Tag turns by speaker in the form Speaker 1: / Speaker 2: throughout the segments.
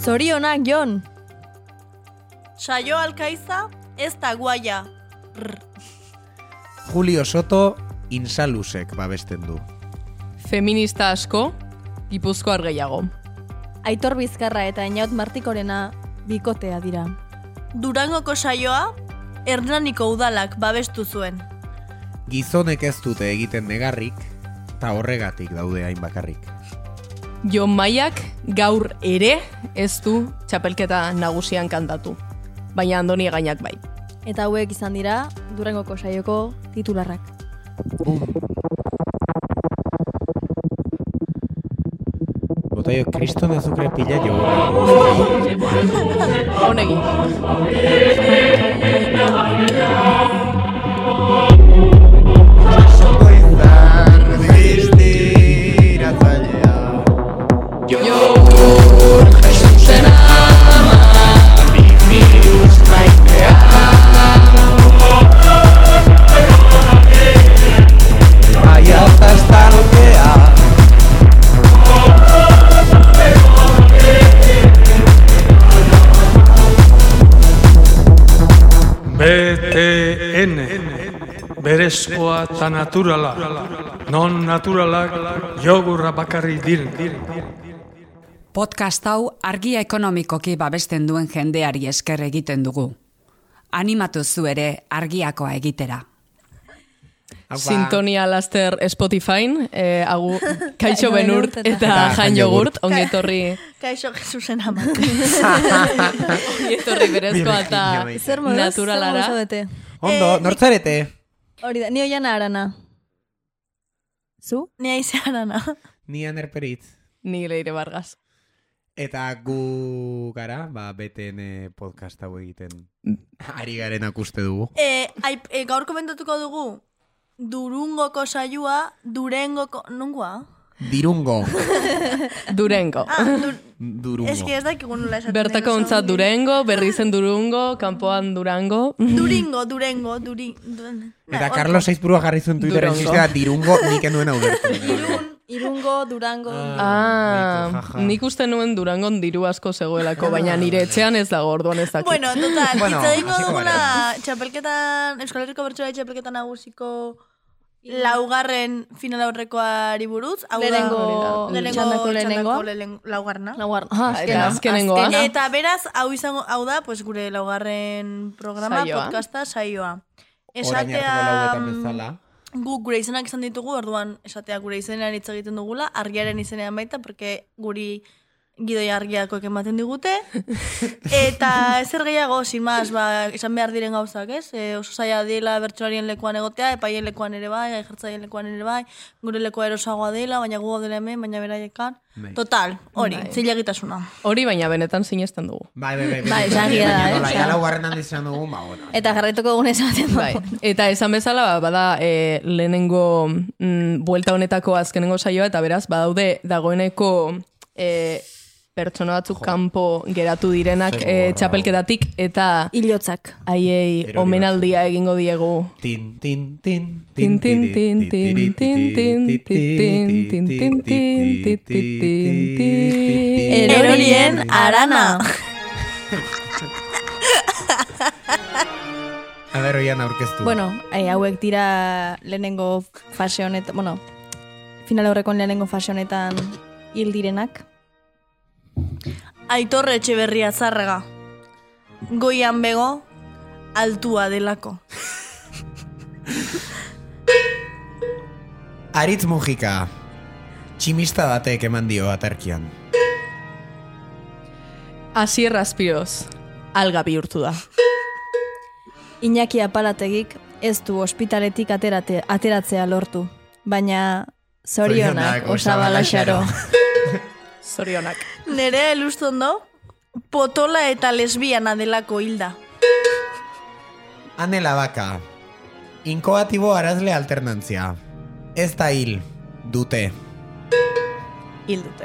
Speaker 1: Zorionak, Jon.
Speaker 2: Saio alkaiza ez da guaia.
Speaker 3: Julio Soto insalusek babesten du.
Speaker 4: Feminista asko, gipuzkoar gehiago.
Speaker 1: Aitor Bizkarra Ba, eta Inaut Martikorena bikotea dira.
Speaker 2: Durangoko saioa Hernaniko udalak babestu zuen.
Speaker 3: Gizonek ez dute egiten negarrik, eta horregatik daude hain bakarrik.
Speaker 4: Jon Maiak gaur ere ez du txapelketa nagusian kantatu. Baina Andoni gainak bai.
Speaker 1: Eta hauek izan dira Durangoko saioko titularrak.
Speaker 3: Botaio, kriston azukre pila jogurra.
Speaker 4: Honegi.
Speaker 5: BTN Berezkoa eta naturala Non naturalak jogurra bakarri diren
Speaker 6: Podcast hau argia ekonomikoki babesten duen jendeari esker egiten dugu. Animatu zu ere argiakoa egitera.
Speaker 3: ba.
Speaker 4: Sintonia laster Spotifyn, eh, agu, kaixo benurt
Speaker 1: Benurt eta-
Speaker 4: eta
Speaker 3: Jan
Speaker 4: jan
Speaker 3: Jogurt.
Speaker 4: jogurt, ongetorri,
Speaker 2: Kaixo Jesusen ama.
Speaker 4: ongetorri
Speaker 3: Birrikin
Speaker 4: berezkoa eta
Speaker 3: jamaite.
Speaker 1: Zer moduz,
Speaker 4: Naturalara.
Speaker 1: zer moduz zaudete?
Speaker 3: Ondo,
Speaker 2: Eh,
Speaker 3: nortzarete?
Speaker 1: Hori da, nio jana arana. Zu?
Speaker 2: Ni aizearana.
Speaker 3: Ni aner peritz.
Speaker 4: ni leire bargaz.
Speaker 3: Eta gu gara, ba, BTN podcast hau egiten. Ari garen akuste dugu.
Speaker 2: E, aip, e, gaur komentatuko dugu Durungoko saioa, Durengoko... Nungoa?
Speaker 3: Dirungo.
Speaker 4: Durengo.
Speaker 2: Ah, dur...
Speaker 3: Durungo.
Speaker 2: Ez que ez dakigu nola esaten.
Speaker 4: Bertako
Speaker 2: den oso
Speaker 4: ontza
Speaker 2: ongi.
Speaker 4: durengo, berri zen durungo, kanpoan durango.
Speaker 2: Duringo, Durengo, Duri... duen-
Speaker 3: Eta
Speaker 1: Bai.
Speaker 2: Ba, hor-
Speaker 3: Carlos Aizburua jarri zuen Twitterren
Speaker 4: Durango.
Speaker 3: ziztea dirungo nik enuen hau
Speaker 2: Irun,
Speaker 1: Irungo, Durango.
Speaker 4: Ah, nik uste nuen durangon diru asko zegoelako, baina nire etxean ez dago orduan ez dakit.
Speaker 2: Bueno, total,
Speaker 3: Ah. Bueno,
Speaker 2: bueno, hitz egingo
Speaker 3: hasiko
Speaker 2: dugula
Speaker 3: gara.
Speaker 2: txapelketan, Euskal Herriko Bertsolari txapelketan nagusiko laugarren final aurrekoari buruz. Hau da,
Speaker 1: Lehenengo txandako
Speaker 2: lehenengo,
Speaker 1: lehenengoa.
Speaker 2: txandako lehen, laugarrena.
Speaker 1: Laguar. Ah,
Speaker 4: Eta azkenengoa.
Speaker 1: azkena.
Speaker 2: Eta beraz, hau izango, hau da, pues, gure laugarren programa,
Speaker 4: Saioa.
Speaker 2: podcasta, saioa.
Speaker 3: Orain
Speaker 2: Esatea,
Speaker 3: arteko lauetan bezala.
Speaker 2: guk gure izenak izan ditugu, orduan esatea gure izenean hitz egiten dugula, argiaren izenean baita, porque guri gidoi argiakoek ematen digute. Eta ezer gehiago, sin más, ba, esan behar diren gauzak, ez? E, oso zaila dela bertsolarien lekuan egotea, epaien lekuan ere bai, jertzaien lekuan ere bai, gure lekoa erosagoa dela, baina gu gaudela hemen, baina beraiekan.
Speaker 3: Bai.
Speaker 2: Total, hori,
Speaker 4: Bai.
Speaker 2: zilegitasuna.
Speaker 4: Hori baina benetan sinesten dugu.
Speaker 3: Bai, bai, bai.
Speaker 1: Bai, esagia da, eh,
Speaker 3: Bai,
Speaker 1: osea.
Speaker 3: laugarren handiz esan dugu, ba, bueno.
Speaker 1: Eta jarraituko egun esaten dugu.
Speaker 4: Bai. Eta esan bezala, ba, bada e, lehenengo mm, buelta honetako azkenengo saioa, eta beraz, badaude dagoeneko e, pertsona batzuk kanpo geratu direnak
Speaker 3: Ze
Speaker 4: e,
Speaker 3: gogorra.
Speaker 4: txapelketatik, eta
Speaker 1: Ilotzak.
Speaker 4: haiei
Speaker 3: Erori
Speaker 4: omenaldia egingo diegu.
Speaker 3: Tin, tin, tin,
Speaker 4: Tin, tin, tin, tin, tin, tin, tin, tin, tin, tin, tin, tin, tin, tin.
Speaker 2: Erorien arana.
Speaker 3: A ber, oian aurkeztu.
Speaker 1: Bueno, eh, hauek dira lehenengo fase honetan, bueno, final aurrekoen lehenengo fase honetan hil direnak.
Speaker 2: Aitorre etxeberria zarraga. Goian bego, altua delako.
Speaker 3: Aritz Mujika. Tximista batek eman dio aterkian.
Speaker 4: Asier Azpiroz, alga bihurtu da.
Speaker 1: Iñaki apalategik ez du ospitaletik aterate, ateratzea lortu, baina zorionak
Speaker 3: Zorionak,
Speaker 1: osabalaxaro.
Speaker 4: Zorionak.
Speaker 2: Nerea elustondo, potola eta lesbiana delako hilda.
Speaker 3: Ane Labaka. Inkoatibo arazle alternantzia. Ez da hil, dute.
Speaker 4: Hildute.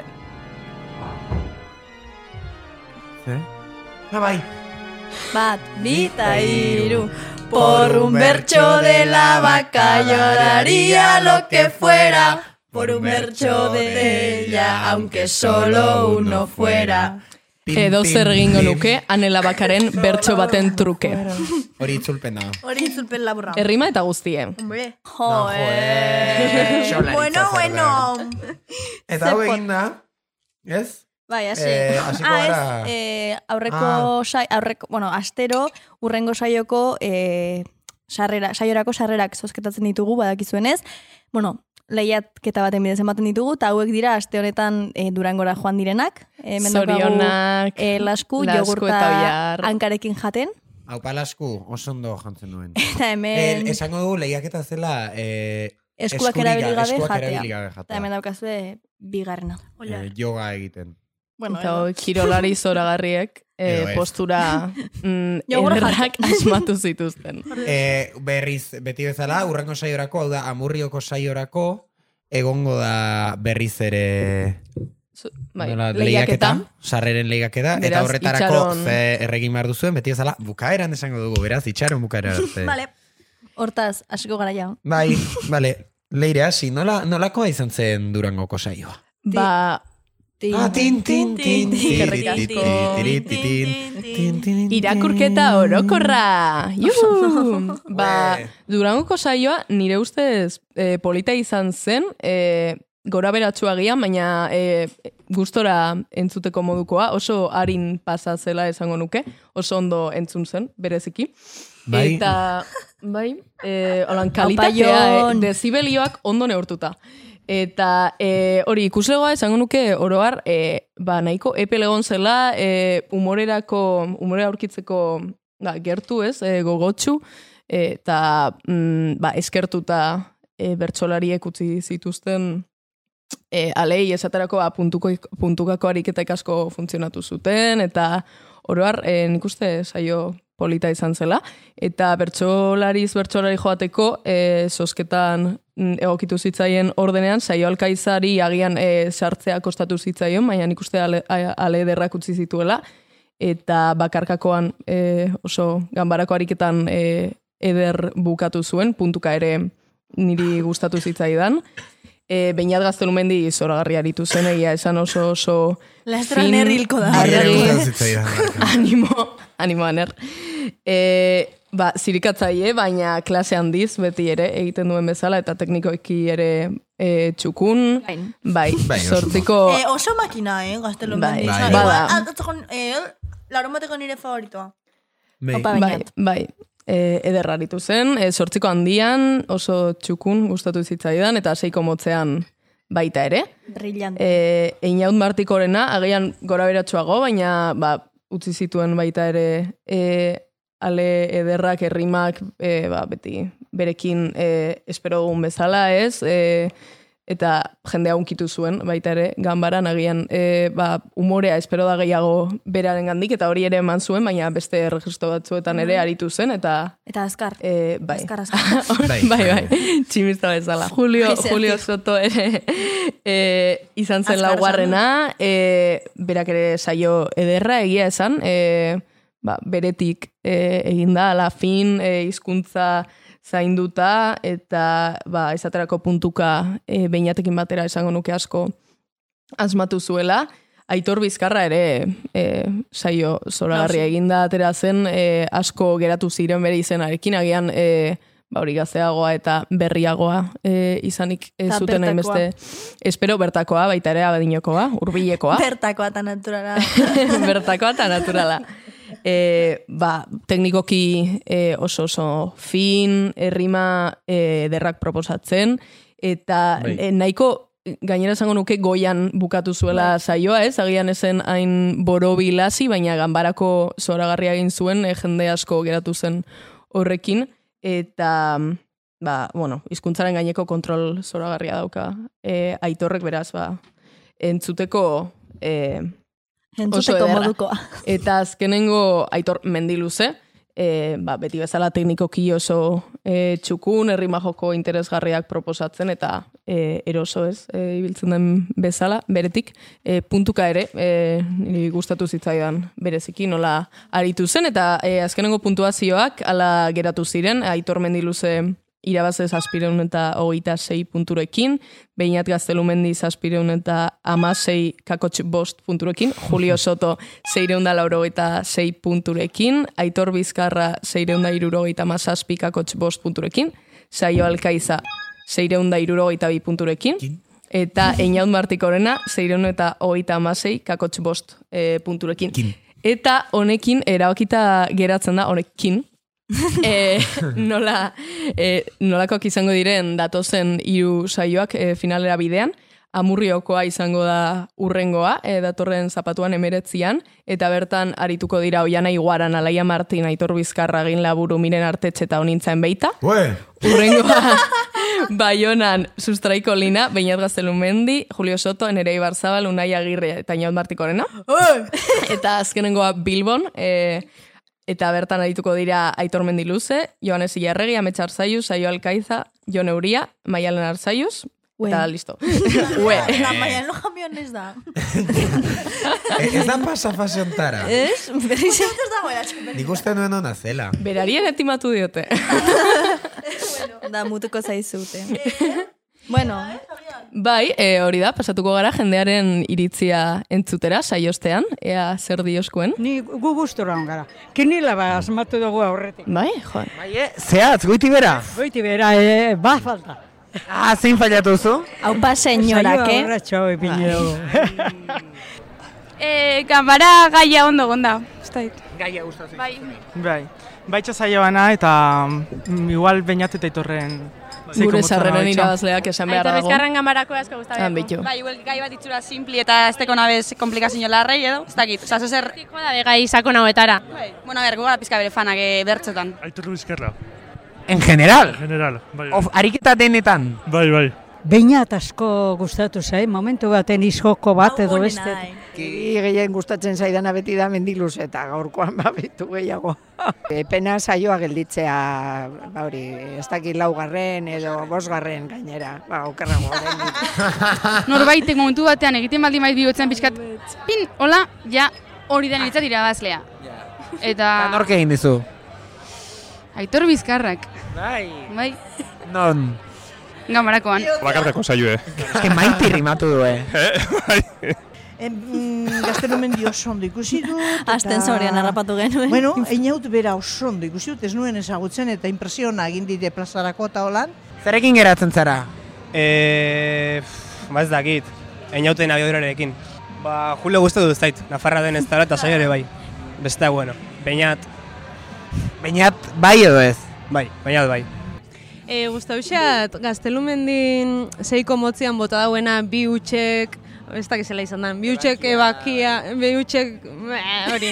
Speaker 3: Eh? Ah, bai.
Speaker 1: Bat, bi eta hiru.
Speaker 2: Por un bercho de la vaca lloraría lo que fuera. Por un bercho de ella, aunque solo uno fuera.
Speaker 4: Edo zer egingo nuke, anela bakaren bertso baten truke.
Speaker 3: Hori itzulpen da.
Speaker 2: Hori itzulpen laburra.
Speaker 4: Errima eta guztie.
Speaker 2: Hombre.
Speaker 3: No,
Speaker 2: Jo,
Speaker 3: joe, xolaritza
Speaker 2: Bueno,
Speaker 3: zer da.
Speaker 2: bueno.
Speaker 3: Eta hau egin da, ez?
Speaker 1: Bai, hasi.
Speaker 3: Eh, hasiko gara. Ah.
Speaker 1: ah, ez, eh, aurreko, sai, aurreko, bueno, astero, urrengo saioko, eh, sarrera, saiorako sarrerak zozketatzen ditugu, badakizuenez. Bueno, lehiatketa baten bidez ematen ditugu, eta hauek dira aste honetan eh, durangora joan direnak. Eh, hemen daukagu,
Speaker 4: Zorionak,
Speaker 1: Eh, lasku,
Speaker 4: Lasku
Speaker 1: jogurta
Speaker 4: eta Oihar.
Speaker 1: hankarekin jaten.
Speaker 3: Hau palasku, oso ondo jantzen nuen.
Speaker 1: Eta
Speaker 3: El,
Speaker 1: hemen
Speaker 3: esango dugu lehiaketa zela eh,
Speaker 1: eskuak
Speaker 3: eskurila-
Speaker 1: erabili gabe
Speaker 3: eskuak erabili
Speaker 1: jatea.
Speaker 3: gabe
Speaker 1: Eta hemen
Speaker 3: jatea.
Speaker 1: daukazue bigarrena.
Speaker 2: Oia.
Speaker 3: Eh, yoga egiten.
Speaker 2: Bueno,
Speaker 4: Eta
Speaker 2: edo.
Speaker 4: hoi, kirolari zoragarriek eh,
Speaker 3: Edo ez.
Speaker 4: postura mm,
Speaker 2: Jogurra
Speaker 4: ederrak asmatu zituzten.
Speaker 3: Eh, berriz, beti bezala, urrengo saiorako, hau da, amurrioko saiorako, egongo da berriz ere
Speaker 4: Zu- Bai,
Speaker 3: nola,
Speaker 4: lehiaketa.
Speaker 3: sarreren lehiaketa, eta
Speaker 4: Beraz,
Speaker 3: horretarako
Speaker 4: itxaron-
Speaker 3: ze erregin behar duzuen, beti bezala, bukaeran esango dugu, beraz, itxaron bukaera arte.
Speaker 2: Vale.
Speaker 1: Hortaz, hasiko gara ja.
Speaker 3: Bai, vale, leire hasi, nola, nolakoa izan zen durangoko saioa?
Speaker 4: Ba,
Speaker 1: Tin.
Speaker 3: Ah, tin, tin, tin, tin,
Speaker 4: Eskerrik
Speaker 3: tin,
Speaker 4: asko.
Speaker 3: tin, tin, tin, tin, tin, tin.
Speaker 4: irakurketa orokorra! Juhu! ba,
Speaker 3: Ue.
Speaker 4: durangoko saioa nire ustez eh, polita izan zen, eh, gora beratxua gian, baina eh, gustora entzuteko modukoa, oso harin pasa zela esango nuke, oso ondo entzun zen, bereziki.
Speaker 3: Bai.
Speaker 4: Eta, bai, e, holan kalitatea, e,
Speaker 1: Apaion.
Speaker 4: dezibelioak ondo neurtuta. Eta e, hori ikuslegoa esango nuke oroar, e, ba, nahiko epel egon zela, e, umorerako, umore aurkitzeko da, gertu ez, e, gogotsu, eta mm, ba, eskertuta e, bertsolariek utzi zituzten e, alei esaterako ba, puntuko, puntukako ariketek asko funtzionatu zuten, eta oroar e, nik uste saio polita izan zela. Eta bertsolariz bertsolari joateko e, zosketan mm, egokitu zitzaien ordenean, saio alkaizari agian e, sartzea kostatu zitzaion, baina nik uste ale, a- ale derrak utzi zituela. Eta bakarkakoan e, oso ganbarako ariketan e, eder bukatu zuen, puntuka ere niri gustatu zitzaidan. E, Beinat gaztelumendi zoragarri aritu zen, egia esan oso oso...
Speaker 2: Lasterren
Speaker 4: fin,
Speaker 2: herrilko da.
Speaker 3: Niri ere
Speaker 4: argi,
Speaker 3: gustatzen zitzaidan, barkatu.
Speaker 4: Animo, animo aner. E, ba, zirikatzaile, baina klase handiz beti ere egiten duen bezala eta teknikoiki ere e, txukun.
Speaker 1: Gain.
Speaker 4: Bai,
Speaker 3: Bai, oso
Speaker 4: sortziko...
Speaker 2: Eh, oso makina, eh, gaztelo
Speaker 4: Bai,
Speaker 2: mendi.
Speaker 3: bai,
Speaker 2: Bai,
Speaker 4: bada.
Speaker 2: Eh, laron bateko nire favoritoa.
Speaker 3: Bai.
Speaker 1: Opa
Speaker 4: Bai,
Speaker 1: bainat.
Speaker 4: bai. E, ederraritu zen, e, sortziko handian, oso txukun gustatu zitzaidan, eta seiko motzean baita ere.
Speaker 1: Brillante.
Speaker 4: E, Einaut martikorena, agian gora beratxoago, baina ba, utzi zituen baita ere e, ale ederrak, errimak, e, ba, beti berekin e, espero dugun bezala ez, e, eta jendea unkitu zuen baita ere ganbaran agian e, ba, umorea espero da gehiago beraren gandik eta hori ere eman zuen, baina beste registro batzuetan ere aritu zen eta
Speaker 1: Mm. Eta azkar.
Speaker 4: E, bai.
Speaker 1: Azkar, azkar.
Speaker 3: Bai.
Speaker 4: bai, bai, tximista bezala. Julio, Julio Soto ere e, izan zen
Speaker 2: Azkar
Speaker 4: laugarrena, e, berak ere saio ederra egia esan, e, ba, beretik e, eginda, ala fin, e, hizkuntza zainduta, eta ba, esaterako puntuka e, beinatekin batera esango nuke asko asmatu zuela. Aitor Bizkarra ere e, saio zoragarria eginda atera zen, e, asko geratu ziren bere izenarekin, agian e, ba hori gazteagoa eta berriagoa e, izanik e,
Speaker 1: Eta
Speaker 4: zuten hainbeste. Espero bertakoa, baita ere abadinokoa, hurbilekoa,
Speaker 2: Bertakoa eta naturala.
Speaker 4: bertakoa eta naturala. E, ba, teknikoki e, oso oso fin, errima e, derrak proposatzen, eta
Speaker 3: Bai.
Speaker 4: e, nahiko gainera esango nuke goian bukatu zuela saioa, ez? Agian ezen hain borobilasi, baina ganbarako zoragarria egin zuen, e, jende asko geratu zen horrekin, eta ba, bueno, hizkuntzaren gaineko kontrol zoragarria dauka e, aitorrek beraz, ba, entzuteko e,
Speaker 1: Entzuteko
Speaker 4: ederra.
Speaker 1: modukoa.
Speaker 4: Eta azkenengo aitor mendiluze, e, ba, beti bezala teknikoki oso e, txukun, herrima joko interesgarriak proposatzen eta e, eroso ez, e, ibiltzen den bezala, beretik, e, puntuka ere, e, niri gustatu zitzaidan bereziki nola eh, aritu zen, eta e, azkenengo puntuazioak ala geratu ziren, aitor mendiluze irabaze zazpireun eta hogeita sei punturekin, Beinat Gaztelumendi zazpireun eta amasei kakotx bost punturekin, Julio Soto zeireun da laurogeita sei punturekin, Aitor Bizkarra zeireun da irurogeita mazazpi kakotx bost punturekin, Saio Alkaiza zeireun da irurogeita bi punturekin, eta Einaun Martikorena zeireun eta hogeita amasei kakotx bost eh, punturekin.
Speaker 3: Kin.
Speaker 4: Eta honekin erabakita geratzen da, honekin, e, nola, e, nolakoak izango diren datozen hiru saioak e, finalera bidean. Amurriokoa izango da urrengoa, e, datorren zapatuan emeretzian, eta bertan arituko dira Oiana Iguaran, Alaia Martin, Aitor Bizkarra, Agin Laburu, Miren Artetxe eta Onintzen Beita.
Speaker 3: Ue!
Speaker 4: Urrengoa Baionan Sustraiko Lina, Beñat Gaztelumendi, Julio Soto, Enerei Barzabal, Unai Agirre eta Inaut Martikorena. eta azkenengoa Bilbon, e, eta bertan arituko dira Aitor Mendiluze, Joanes Ilarregi, Amets Arzaiuz, Aio Alkaiza, Jon Euria, Maialen Arzaiuz,
Speaker 1: Ue.
Speaker 4: eta listo. Ue.
Speaker 2: La maia no camiones da.
Speaker 3: E- Ez da pasa fase ontara.
Speaker 1: Ez? Berriz
Speaker 2: Ez dagoela txupen.
Speaker 3: Nik uste nuen ona zela.
Speaker 4: Berarien etimatu diote.
Speaker 2: Eh,
Speaker 1: da mutuko zaizute.
Speaker 2: Eh,
Speaker 1: bueno,
Speaker 4: Bai, e, hori da, pasatuko gara jendearen iritzia entzutera, saiostean, ea zer dioskuen.
Speaker 7: Ni gu gustora hon gara. Kinila ba asmatu dugu aurretik.
Speaker 4: Bai, joan.
Speaker 8: Zehatz, goiti bera?
Speaker 7: Goiti bera, e, ba falta.
Speaker 8: Ah, zein fallatu zu?
Speaker 1: haupa senyorak,
Speaker 7: Saioa
Speaker 1: eh?
Speaker 7: aurratxo ipini dugu.
Speaker 9: E, gamara gaia ondo gonda, ez da dit.
Speaker 8: Gaia gustatzen.
Speaker 9: Bai,
Speaker 10: Bai, baitxa saioana eta mm, igual bainat eta itorren
Speaker 4: Gure sarreron irabazleak esan behar
Speaker 9: aitor
Speaker 4: dago.
Speaker 9: bizkarran gamarako asko guztabiako.
Speaker 4: Ah, bitu.
Speaker 11: Bai, igual gai bat itxura simpli eta ez teko nabez komplikazio larrei edo, ez dakit. Osa, zer... Bai.
Speaker 9: Joda de gai sakon hauetara.
Speaker 11: Bueno, a ber, gu gara pizka bere fanak eh, bertxotan.
Speaker 5: Aitor Bizkarra,
Speaker 8: En general,
Speaker 5: general. Bai,
Speaker 8: of, ariketa denetan.
Speaker 5: bai, bai.
Speaker 7: Beinat asko gustatu zai, momentu baten izoko bat edo beste.
Speaker 11: Ki gehien gustatzen zaidana beti da mendiluz eta gaurkoan babitu gehiago. Eh, Pena saioa gelditzea, ba hori, ez dakit laugarren edo bosgarren gainera, ba, okerrago.
Speaker 9: Norbaitek momentu batean egiten baldin bait bihotzen pixkat, pin, hola, ja, hori da niretzat irabazlea. Eta
Speaker 8: Eta nork egin dizu?
Speaker 9: aitor bizkarrak,
Speaker 8: Bai.
Speaker 9: bai,
Speaker 8: Non.
Speaker 9: gamarakoan.
Speaker 10: Bakartako saioe.
Speaker 8: Ez que maite rimatu du, eh?
Speaker 11: mm, Gaztelumen dio ondo ikusi dut. eta-
Speaker 1: Asten zorean harrapatu genuen.
Speaker 11: Bueno, inaut bera oso ondo ikusi dut, ez nuen ezagutzen eta impresiona egin dite plazarako eta holan.
Speaker 8: Zerekin geratzen zara?
Speaker 10: E, ba ez dakit, einauten abiodurarekin. Ba, Julio guztu dut zait, Nafarra den ez dara eta saio ere bai. Beste bueno, bainat,
Speaker 8: Beinat, bai edo ez?
Speaker 10: bai, bainat bai.
Speaker 11: E, Gustauxat, gaztelumendin seiko motzian bota dauena bi utxek, ez dakizela izan den, bi utxek ebakia, bi utxek, eh, hori.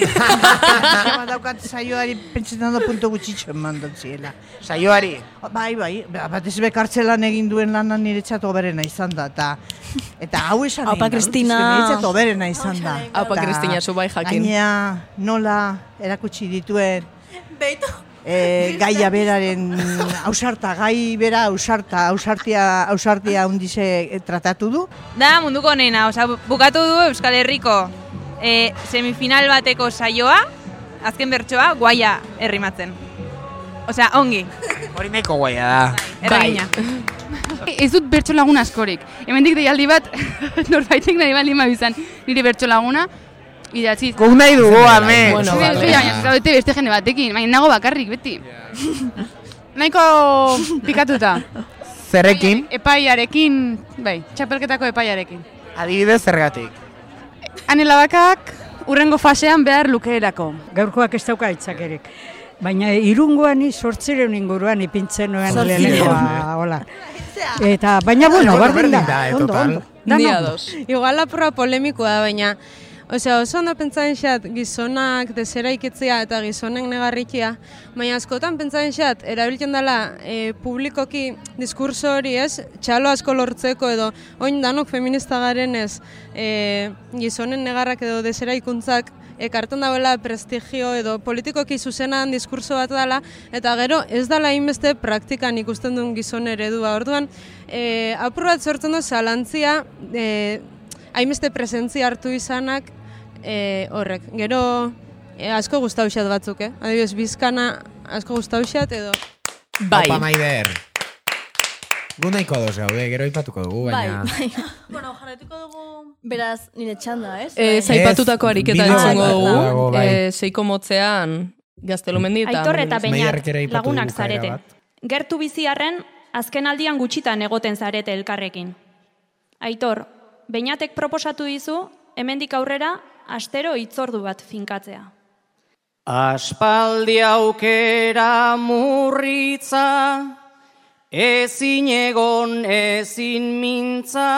Speaker 11: daukat saioari pentsetan da puntu gutxitxo eman ziela.
Speaker 8: Saioari.
Speaker 11: Bai, bai, batez bekartzelan egin duen lana niretzat oberena izan da, eta, eta hau esan
Speaker 1: Aupa
Speaker 11: egin behar dut,
Speaker 1: Kristina.
Speaker 11: eske Niretzat oberena izan da.
Speaker 4: Aupa
Speaker 11: Eta
Speaker 4: Kristina, zu bai jakin.
Speaker 11: Gaina nola erakutsi dituen
Speaker 2: Beitu.
Speaker 11: e, gaia beraren ausarta, gai bera ausarta, ausartia, ausartia undize tratatu du.
Speaker 9: Da munduko onena, oza, bukatu du Euskal Herriko e, semifinal bateko saioa, azken bertsoa, guaia herrimatzen. Osea, ongi,
Speaker 8: Hori nahiko guaia da.
Speaker 9: erregina. Bai. Ez dut bertso lagun askorik. Hemendik deialdi bat, norbaitek nahi bali ma bizan, nire bertso laguna, idatzi.
Speaker 8: Guk nahi dugu, ame.
Speaker 4: Bueno,
Speaker 9: Zure-
Speaker 4: vale.
Speaker 9: zure baina ez zaudete beste jende batekin, baina nago bakarrik beti. Nahiko pikatuta.
Speaker 8: Zerekin,
Speaker 9: Epaiarekin, bai, txapelketako epaiarekin.
Speaker 8: adibidez zergatik.
Speaker 9: Anelabakak urrengo fasean behar lukeerako.
Speaker 7: Gaurkoak ez dauka itzakerik. Baina irungoan ni sortzireun inguruan ipintzen nuen
Speaker 1: Zortziehun.
Speaker 7: lehenengoa, hola. Eta, baina bueno,
Speaker 3: Bueno,
Speaker 7: berdin da,
Speaker 3: berdin da, eh,
Speaker 7: ondo,
Speaker 3: total.
Speaker 7: ondo.
Speaker 4: Ni
Speaker 7: Dana ondo.
Speaker 4: ados.
Speaker 11: Igual apurra polemikoa da, baina Osea, oso ondo pentsatzen xat gizonak desera ikitzea eta gizonek negarrikia, baina askotan pentsatzen xat, erabiltzen dela e, publikoki diskurso hori ez, txalo asko lortzeko edo, oin danok feminista garen ez, e, gizonen negarrak edo desera ikuntzak ekartzen dauela prestigio edo politikoki zuzenan diskurso bat dala eta gero ez dala inbeste praktikan ikusten duen gizon eredua. Orduan, e, apur bat sortzen du zalantzia, e, hainbeste presentzia hartu izanak e, horrek. Gero e, asko gustauxat batzuk, eh? Adibidez, bizkana asko gustauxat edo
Speaker 4: Bai,
Speaker 3: Opa maider. Gu nahiko ados gaude, gero aipatuko dugu, baina...
Speaker 1: Bai, bai. bueno, jarretuko dugu... Beraz, nire txanda, ez?
Speaker 4: E, zaipatutako ariketa
Speaker 3: bideo
Speaker 4: entzungo
Speaker 3: bat
Speaker 4: dugu.
Speaker 3: dago, bai.
Speaker 4: E, seiko motzean gaztelumendi eta...
Speaker 12: Aitor eta Beñat,
Speaker 4: Maiarrek ere aipatu
Speaker 12: lagunak
Speaker 4: du bukaera
Speaker 12: zarete.
Speaker 4: bat.
Speaker 12: Gertu biziarren, azken aldian gutxitan egoten zarete elkarrekin. Aitor, Beñatek proposatu dizu, hemendik aurrera, astero hitzordu bat finkatzea.
Speaker 13: Aspaldi aukera murritza, ezin egon ezin mintza,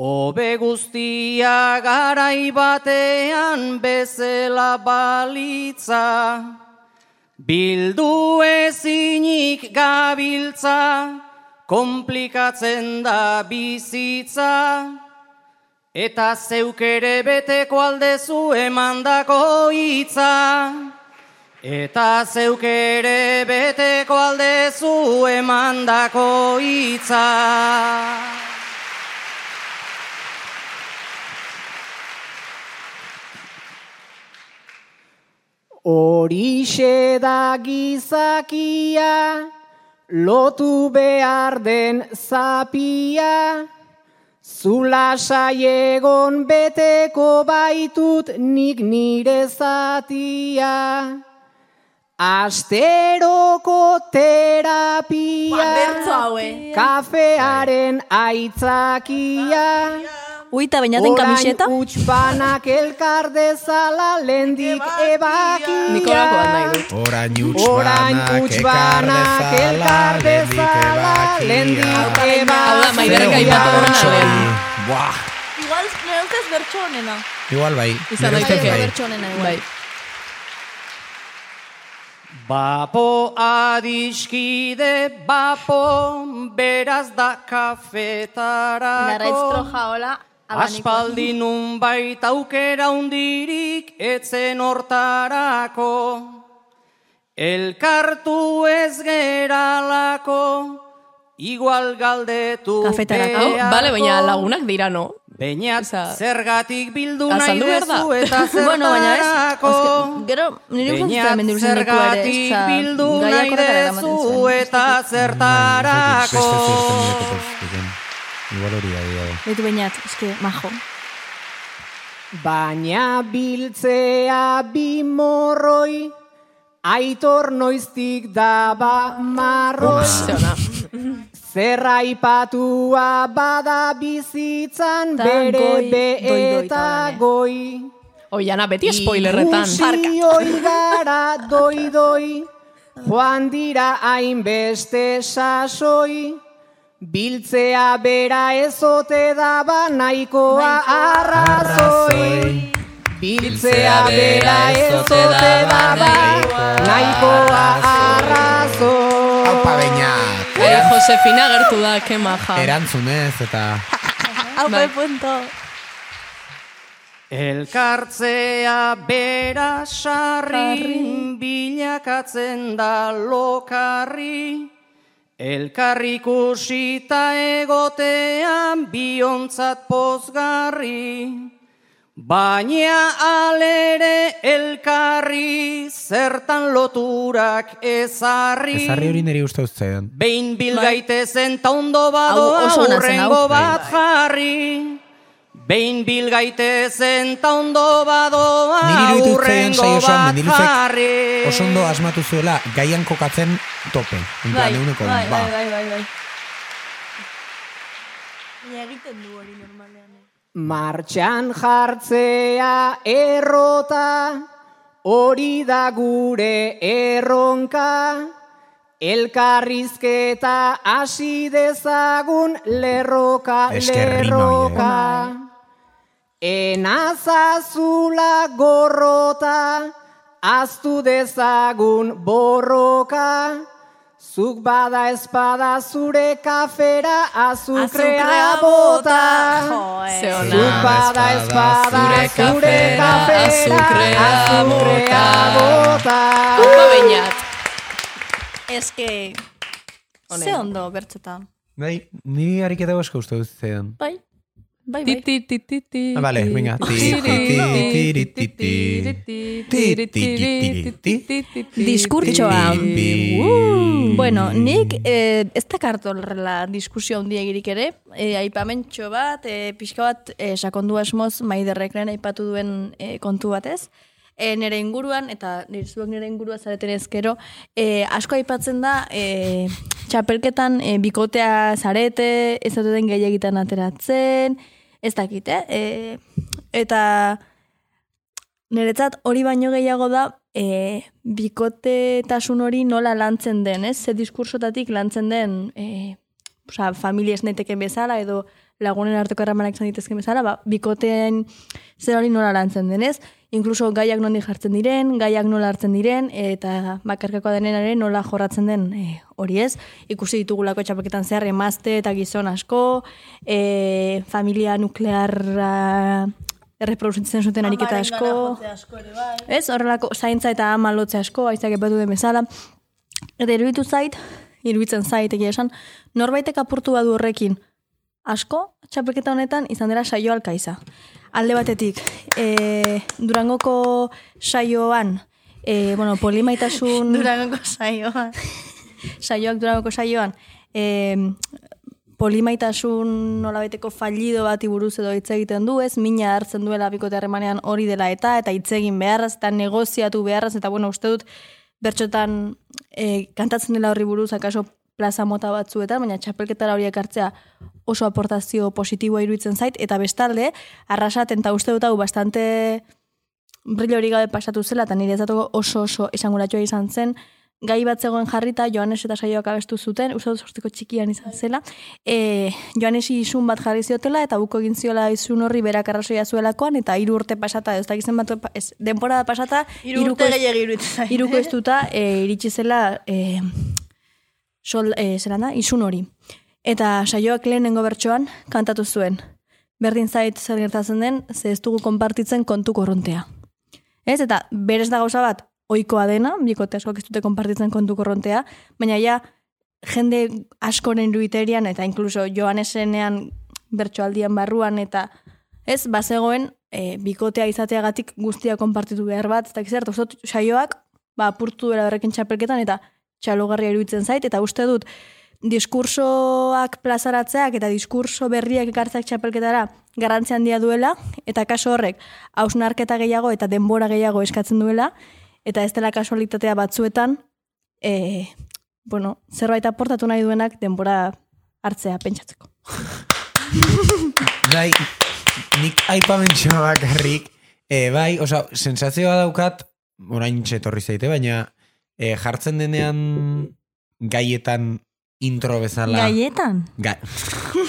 Speaker 13: obe guztia garai batean bezela balitza, bildu ezinik gabiltza, komplikatzen da bizitza, Eta zeuk ere beteko aldezu emandako hitza. Eta zeuk ere beteko aldezu emandako hitza. Horixe da gizakia, lotu behar den zapia, Zula saiegon beteko baitut nik nire zatia. Asteroko
Speaker 1: Ba,
Speaker 13: terapia,
Speaker 1: eh.
Speaker 13: kafearen aitzakia,
Speaker 1: Uita bainaten
Speaker 13: Orain
Speaker 1: kamiseta?
Speaker 13: utxpanak elkar dezala lendik ebakia.
Speaker 3: Orain
Speaker 13: Orain
Speaker 3: utxbanak ekar
Speaker 13: utxbanak
Speaker 3: dezala,
Speaker 13: elkar
Speaker 3: lendik
Speaker 13: dezala lendik
Speaker 3: ebakia.
Speaker 13: ebakia.
Speaker 4: Maiderrek aipatu
Speaker 3: Zer
Speaker 4: duena
Speaker 3: hori.
Speaker 4: da.
Speaker 3: Buah,
Speaker 2: Igual, nire ustez bertso honena.
Speaker 3: igual bai.
Speaker 2: Izan
Speaker 3: Nire ustez
Speaker 2: daiteke.
Speaker 3: bai.
Speaker 2: Bertso honena, igual.
Speaker 13: Bapo adiskide, bapo beraz da
Speaker 2: Larraitz
Speaker 13: kafetarako.
Speaker 2: troja, hola. abanikoa.
Speaker 13: Aspaldi nun baita aukera hundirik etzen hortarako. Elkartu ez geralako, igual galdetu
Speaker 4: Kafetarako?
Speaker 13: beharko.
Speaker 4: Bale, Eh, baina lagunak dira, no?
Speaker 13: Beñat,
Speaker 4: zergatik
Speaker 13: bildu
Speaker 1: Ah,
Speaker 13: nahi duzu eta
Speaker 1: bueno, baina ez.
Speaker 13: zertarako?
Speaker 1: Azke- Gero, nire ustez
Speaker 13: Beñat,
Speaker 1: da mendiruzen leku ere.
Speaker 13: zergatik
Speaker 1: Zergatik
Speaker 13: bildu nahi dezu eta
Speaker 3: Beste
Speaker 13: zertarako.
Speaker 3: zertan nire kopaztuken. Igual hori da, igual.
Speaker 1: Beitu bainat, eske, majo.
Speaker 13: Baina biltzea bi morroi, aitor noiztik daba marroi. Zer aipatua bada bizitzan
Speaker 4: Ta
Speaker 13: bere
Speaker 4: goi, doi,
Speaker 13: be
Speaker 4: doi,
Speaker 13: eta goi.
Speaker 4: Oiana, beti spoilerretan.
Speaker 13: Ikusi hoi gara doi doi, joan dira hainbeste sasoi, biltzea bera ezote daba ba nahikoa arrazoi. Biltzea bera ezote daba nahikoa arrazoi.
Speaker 3: Aupa baina.
Speaker 4: Baina Eh, Josefina gertu da, ke maja.
Speaker 3: Erantzunez eta...
Speaker 4: Bai.
Speaker 13: Elkartzea bera sarri,
Speaker 4: Sarri.
Speaker 13: bilakatzen da lokarri, elkarrikusita egotean biontzat pozgarri, baina alere elkarri zertan loturak ezarri.
Speaker 3: Ezarri hori niri uste utzaidan.
Speaker 13: Behin bil gaitezen ta ondo badoa
Speaker 3: oso ona zen, Bai. hau.
Speaker 13: urrengo bat
Speaker 3: Bai,
Speaker 13: jarri. Behin bil gaitezen ta ondo badoa
Speaker 3: Niri iruditu zitzaidan
Speaker 13: urrengo
Speaker 3: saio osoan
Speaker 13: bat
Speaker 3: mendiluzek
Speaker 13: jarri.
Speaker 3: oso ondo asmatu zuela gaian kokatzen tope. En plan, euneko,
Speaker 2: bai,
Speaker 3: ba.
Speaker 2: bai, bai, bai, bai. Baina egiten du hori normalean.
Speaker 13: Martxan jartzea errota, hori da gure erronka, elkarrizketa hasi dezagun lerroka,
Speaker 3: Esker rima
Speaker 13: lerroka. Enazazula gorrota, aztu dezagun borroka, zuk bada espada zure kafera azukrea
Speaker 2: Azukrea
Speaker 13: bota.
Speaker 2: bota. Joe.
Speaker 13: Ze ona.
Speaker 2: Zuk bada
Speaker 13: espada zure kafera azukrea bota.
Speaker 4: Aupa bainat.
Speaker 1: Eske,
Speaker 4: Honen.
Speaker 1: ze ondo bertzetan.
Speaker 3: Bai, niri ariketa asko uste dut zitzaidan.
Speaker 1: Bai.
Speaker 7: Bai,
Speaker 4: bai. Ti, ti, ti, ti.
Speaker 3: Ah, vale, venga. Ti, ti, ti, ti, ti, ti.
Speaker 2: Diskurtsoa. Bueno, nik eh, ez dakartu horrela diskusio handiegirik ere, eh, aipamentxo bat, eh, pixka bat eh, sakondu asmoz maiderrekren aipatu duen eh, kontu batez. Eh, nere inguruan, eta nire zuek nere ingurua zareten ezkero, eh, asko aipatzen da eh, txapelketan eh, bikotea zarete, ez duten gehiagitan ateratzen, ez dakite, eh, eta niretzat hori baino gehiago da e, bikotetasun hori nola lantzen den, ez? Ze diskursotatik lantzen den e, oza, familia esneteken bezala edo lagunen arteko erramanak izan ditezken bezala, ba, bikoteen zer hori nola lantzen den, ez? Inkluso gaiak nondi jartzen diren, gaiak nola hartzen diren, eta bakarkakoa denen ere nola jorratzen den e, hori ez. Ikusi ditugulako txapaketan zehar emazte eta gizon asko, e, familia nuklearra erreproduzitzen zuten ariketa asko. Ez, horrelako zaintza eta ama lotze asko, aizak epatu den bezala. Eta iruditu zait, iruditzen zait, egia esan, norbaitek apurtu badu horrekin. Asko, txapelketa honetan, izan dela saio alkaiza. Alde batetik, e, Durangoko saioan, e, bueno, polimaitasun...
Speaker 7: Durangoko saioan.
Speaker 2: Saioak Durangoko saioan, e, polimaitasun nolabaiteko fallido bati buruz edo hitz egiten du, ez mina hartzen duela bikote harremanean hori dela eta eta hitz egin beharraz eta negoziatu beharraz eta bueno, uste dut bertxotan e, kantatzen dela horri buruz akaso plaza mota batzuetan, baina txapelketara horiek hartzea oso aportazio positiboa iruditzen zait, eta bestalde, arrasaten eta uste dut hau bastante brillo hori gabe pasatu zela, eta nire ezatuko oso oso esanguratua izan zen, gai bat zegoen jarrita, Joanes eta saioak abestu zuten, uste dut sorteko txikian izan zela, e, Joanesi izun bat jarri ziotela, eta buko egin ziola izun horri berak arrazoia zuelakoan, eta hiru urte pasata, ez dakizen bat, ez, denbora pasata,
Speaker 7: Hiru urte
Speaker 2: ez-
Speaker 7: gehiegi iruditzen zait.
Speaker 2: hiruko estuta, e, iritsi zela, e, sol, e, zelan da, izun hori. Eta saioak lehenengo bertsoan kantatu zuen. Berdin zait zer gertatzen den, ze ez dugu konpartitzen kontu korrontea. Ez, eta berez da gauza bat, oikoa dena, bikote askoak ez dute konpartitzen kontu korrontea, baina ja, jende askoren iruditerian, eta inkluso joan esenean bertsoaldian barruan, eta ez, bazegoen, e, bikotea izateagatik guztia konpartitu behar bat, eta zer, eta uste dut saioak, ba, apurtu dela horrekin txapelketan, eta txalogarria iruditzen zait, eta uste dut, diskursoak plazaratzeak eta diskurso berriak ekartzeak txapelketara garrantzi handia duela, eta kaso horrek hausnarketa gehiago eta denbora gehiago eskatzen duela, eta ez dela kasualitatea batzuetan, e, bueno, zerbait aportatu nahi duenak denbora hartzea pentsatzeko.
Speaker 3: Bai, nik aipamentxo bakarrik, eh, bai, oza, sensazioa daukat, orain txetorri zaite, baina eh, jartzen denean gaietan intro bezala.
Speaker 2: Gaietan?
Speaker 3: Ga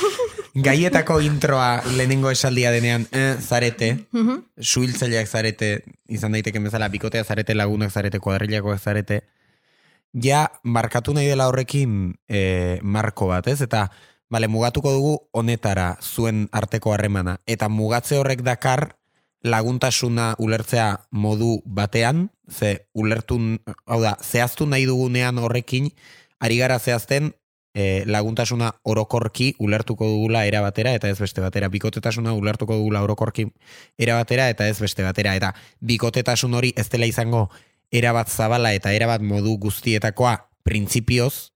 Speaker 3: gaietako introa lehenengo esaldia denean eh, zarete,
Speaker 2: Mhm.
Speaker 3: suhiltzaileak zarete, izan daiteke bezala, bikotea zarete, lagunak zarete, kuadrilakoak zarete, ja markatu nahi dela horrekin eh, marko bat, ez? Eta Bale, mugatuko dugu honetara zuen arteko harremana. Eta mugatze horrek dakar laguntasuna ulertzea modu batean, ze ulertu, hau da, zehaztu nahi dugunean horrekin, ari gara zehazten e, laguntasuna orokorki ulertuko dugula era batera eta ez beste batera. Bikotetasuna ulertuko dugula orokorki era batera eta ez beste batera. Eta bikotetasun hori ez dela izango erabat zabala eta erabat modu guztietakoa printzipioz,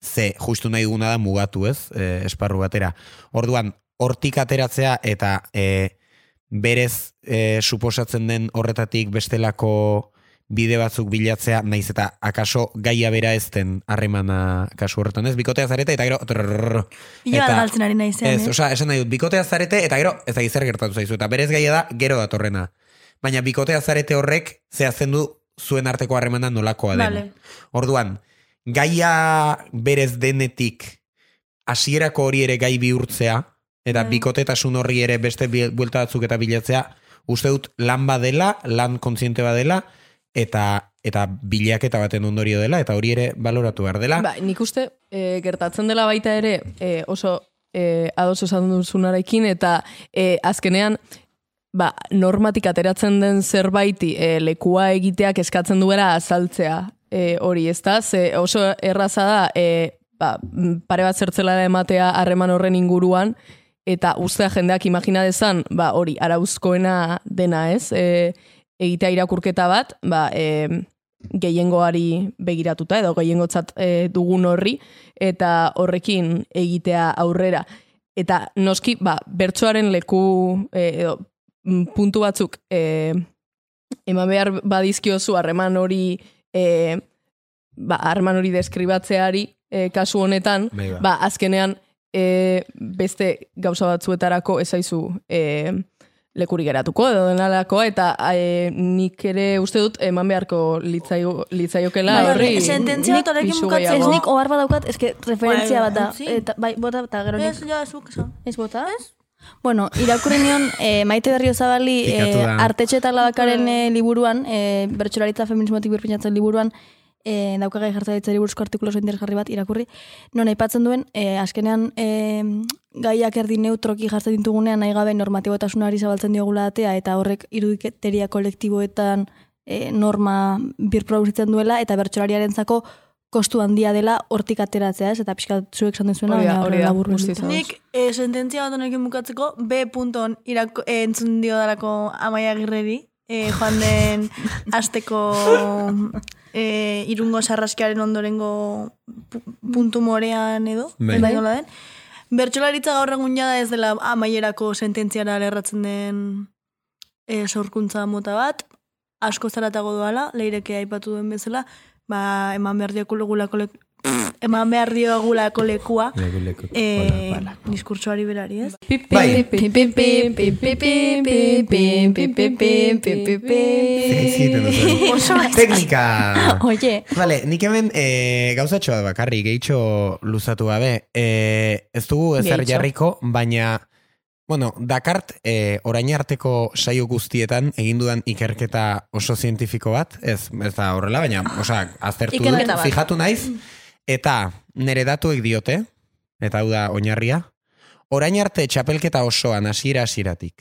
Speaker 3: ze justu nahi duguna da mugatu ez, e, esparru batera. Orduan, hortik ateratzea eta e, berez e, suposatzen den horretatik bestelako bide batzuk bilatzea, naiz eta akaso gaia bera ezten harremana kasu horretan ez, bikotea zarete eta gero trrrr,
Speaker 7: Iloan galtzen ari naizean,
Speaker 3: ez,
Speaker 7: eh?
Speaker 3: osea, esan nahi dut, bikotea zarete eta gero ez da zer gertatu zaizu, eta berez gaia da gero datorrena. Baina bikotea zarete horrek zehazten du zuen arteko harremana nolakoa den.
Speaker 7: Vale.
Speaker 3: Orduan, gaia berez denetik hasierako hori ere gai bihurtzea, eta
Speaker 7: Bai.
Speaker 3: bikotetasun horri ere beste bi- buelta batzuk eta bilatzea, uste dut lan badela, lan kontziente badela, eta eta bilaketa baten ondorio dela, eta hori ere baloratu behar dela.
Speaker 4: Ba, nik uste e, gertatzen dela baita ere e, oso e, ados esan duzunarekin eta e, azkenean ba, normatik ateratzen den zerbaiti e, lekua egiteak eskatzen duela azaltzea e, hori, ez da? Ze oso eh, erraza da e, ba, m, pare bat zertzela ematea harreman horren inguruan eta ustea jendeak imagina dezan, ba, hori, arauzkoena dena ez, e, egitea irakurketa bat, ba, e, gehiengoari begiratuta edo gehiengotzat e, dugun horri eta horrekin egitea aurrera. Eta noski, ba, bertsoaren leku e, edo mm, puntu batzuk e, eman behar badizkiozu harreman hori e, ba, harreman hori deskribatzeari e, kasu honetan,
Speaker 14: Bai, ba.
Speaker 4: ba, azkenean e, beste gauza batzuetarako ezaizu e, lekuri geratuko edo denalako eta e, nik ere uste dut eman beharko litzaio, litzaiokela
Speaker 1: Bai,
Speaker 4: horri.
Speaker 1: sententzia bat horrekin bukatzea, ez nik ohar badaukat, eske referentzia
Speaker 2: Bai,
Speaker 1: bat da.
Speaker 2: utzi.
Speaker 1: Eta, bai, bota eta gero nik.
Speaker 2: Ez, ja, zuk esan.
Speaker 1: Ez bota? Bueno, irakurri nion eh, Maite Berrio Zabali
Speaker 2: Pikatu
Speaker 1: eh,
Speaker 2: da.
Speaker 1: artetxe eta labakaren eh, liburuan, eh, bertsolaritza feminismotik birpinatzen liburuan, eh, daukagai jartzaitzari buruzko artikulu oso interesgarri bat irakurri, non aipatzen duen, eh, askenean eh, gaiak erdi neutroki jartzen ditugunean nahi gabe normatibotasunari zabaltzen diogula atea eta horrek irudiketeria kolektiboetan eh, norma birproduzitzen duela eta bertsolariarentzako kostu handia dela hortik ateratzea, ez? Eta pixka zuek esan duzuena,
Speaker 4: Hori da,
Speaker 1: baina
Speaker 4: hori
Speaker 1: horrela
Speaker 4: da,
Speaker 1: laburbilduta.
Speaker 4: guztiz ados.
Speaker 2: Nik eh, sententzia bat honekin bukatzeko B punton irako, eh, entzun dio darako amaia girreri, eh, joan den azteko eh, irungo sarraskiaren ondorengo pu- puntu morean edo,
Speaker 1: Bai.
Speaker 2: ez da nola den. Bertsolaritza gaur egun jada ez dela amaierako sententziara lerratzen den eh, sorkuntza mota bat, asko zaratago doala, leireke aipatu duen bezala, ba, eman behar diogula kolek, eman behar diogula kolekua,
Speaker 3: Leku, leku.
Speaker 2: eh, diskurtsoari berari, ez?
Speaker 3: Bai.
Speaker 2: Oso ez.
Speaker 3: Teknika!
Speaker 1: Oie.
Speaker 3: Vale, nik hemen e, gauzatxo bat bakarri, gehitxo luzatu gabe. E, ez dugu ezer
Speaker 8: Gehitxo.
Speaker 3: jarriko, baina, bueno, Dakart e, orain arteko saio guztietan egindudan ikerketa oso zientifiko bat, ez, ez da horrela, baina, osea, aztertu dut,
Speaker 8: Ikerketa bat. Mm.
Speaker 3: fijatu naiz, eta nere datuek diote, eta hau da oinarria, orain arte txapelketa osoan hasiera hasieratik.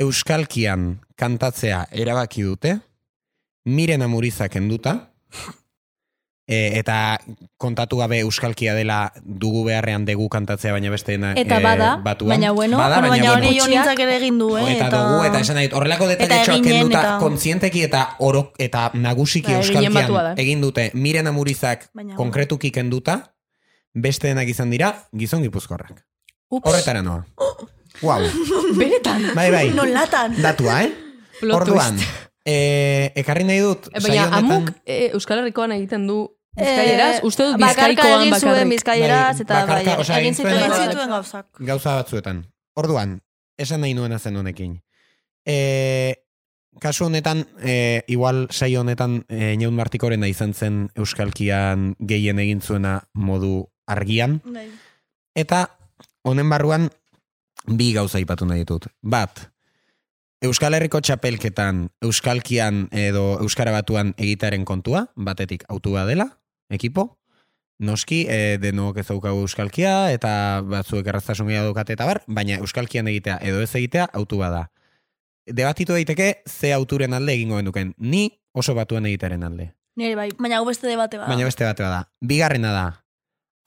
Speaker 3: Euskalkian kantatzea erabaki dute, miren amurizak enduta, e, eta kontatu gabe euskalkia dela dugu beharrean dugu kantatzea, baina beste e,
Speaker 1: Eta bada, baina bueno,
Speaker 3: Eh, bada, baina,
Speaker 1: bueno, baina
Speaker 3: bueno,
Speaker 1: hori
Speaker 2: Ionitzak ere egin du, eh?
Speaker 3: Eta, dugu, eta esan nahi, dut, horrelako detalletxoak
Speaker 2: eginen,
Speaker 3: kenduta,
Speaker 2: eta-
Speaker 3: kontzienteki eta orok, eta nagusiki
Speaker 2: Ba, eginen batua da.
Speaker 3: euskalkian egin dute, miren amurizak
Speaker 2: Baina, bueno.
Speaker 3: konkretuki kenduta, besteenak izan dira, gizon gipuzkorrak. Horretara noa. Wow.
Speaker 4: Beretan.
Speaker 3: Bai, bai.
Speaker 2: Nolatan.
Speaker 3: Datua, eh?
Speaker 4: Plot twist.
Speaker 3: Orduan, eh, ekarri nahi dut,
Speaker 4: Eh,
Speaker 3: saio
Speaker 4: Baina
Speaker 3: honetan-
Speaker 4: amuk e, Euskal Herrikoan egiten du bizkaieraz,
Speaker 1: Eh,
Speaker 4: uste dut
Speaker 1: bakarka
Speaker 4: bizkaikoan
Speaker 1: egin zuen
Speaker 4: bakarrik.
Speaker 1: bizkaieraz, Bai, eta bakarka, bai,
Speaker 3: osea, egin egin zuen- zuen-
Speaker 2: Egin zituen gauzak.
Speaker 3: Gauza batzuetan. Orduan, esan nahi nuena zen honekin. E, kasu honetan, e, igual saio honetan, e, Inaun Martikorena izan zen Euskalkian gehien egin zuena modu argian. Eta honen barruan bi gauza aipatu nahi ditut. Bat, Euskal Herriko txapelketan, Euskalkian edo Euskara batuan egitaren kontua, batetik autua dela, ekipo, noski, e, denok ez daukagu Euskalkia, eta batzuek erraztasun gehiago daukate eta bar, baina Euskalkian egitea edo ez egitea autua da. Debatitu daiteke ze auturen alde egingo genuken, ni oso batuan egitaren alde.
Speaker 2: Nire bai. Baina hau beste debate bat.
Speaker 3: Baina beste bat da. Bigarrena da,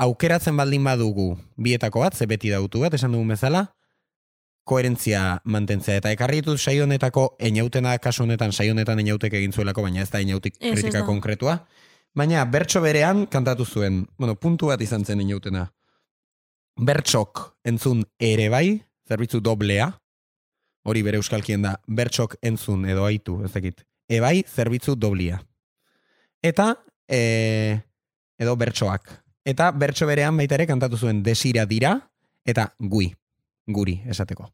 Speaker 3: aukeratzen baldin badugu bietako bat, ze beti dautu bat, esan dugun bezala, koherentzia mantentzea. Eta ekarri ditut saio honetako eniautena, kasu honetan, saio honetan eniautek egin zuelako, baina ez da eniautik
Speaker 8: Ez, ez
Speaker 3: kritika
Speaker 8: da.
Speaker 3: konkretua. Baina bertso berean kantatu zuen, bueno, puntu bat izan zen eniautena. Bertsok entzun ere bai, zerbitzu doblea, hori bere euskalkien da, bertsok entzun edo aitu, ez dakit. Ebai, zerbitzu doblia. Eta, e, edo bertsoak. Eta bertso berean baita ere kantatu zuen desira dira, eta gui, guri, esateko.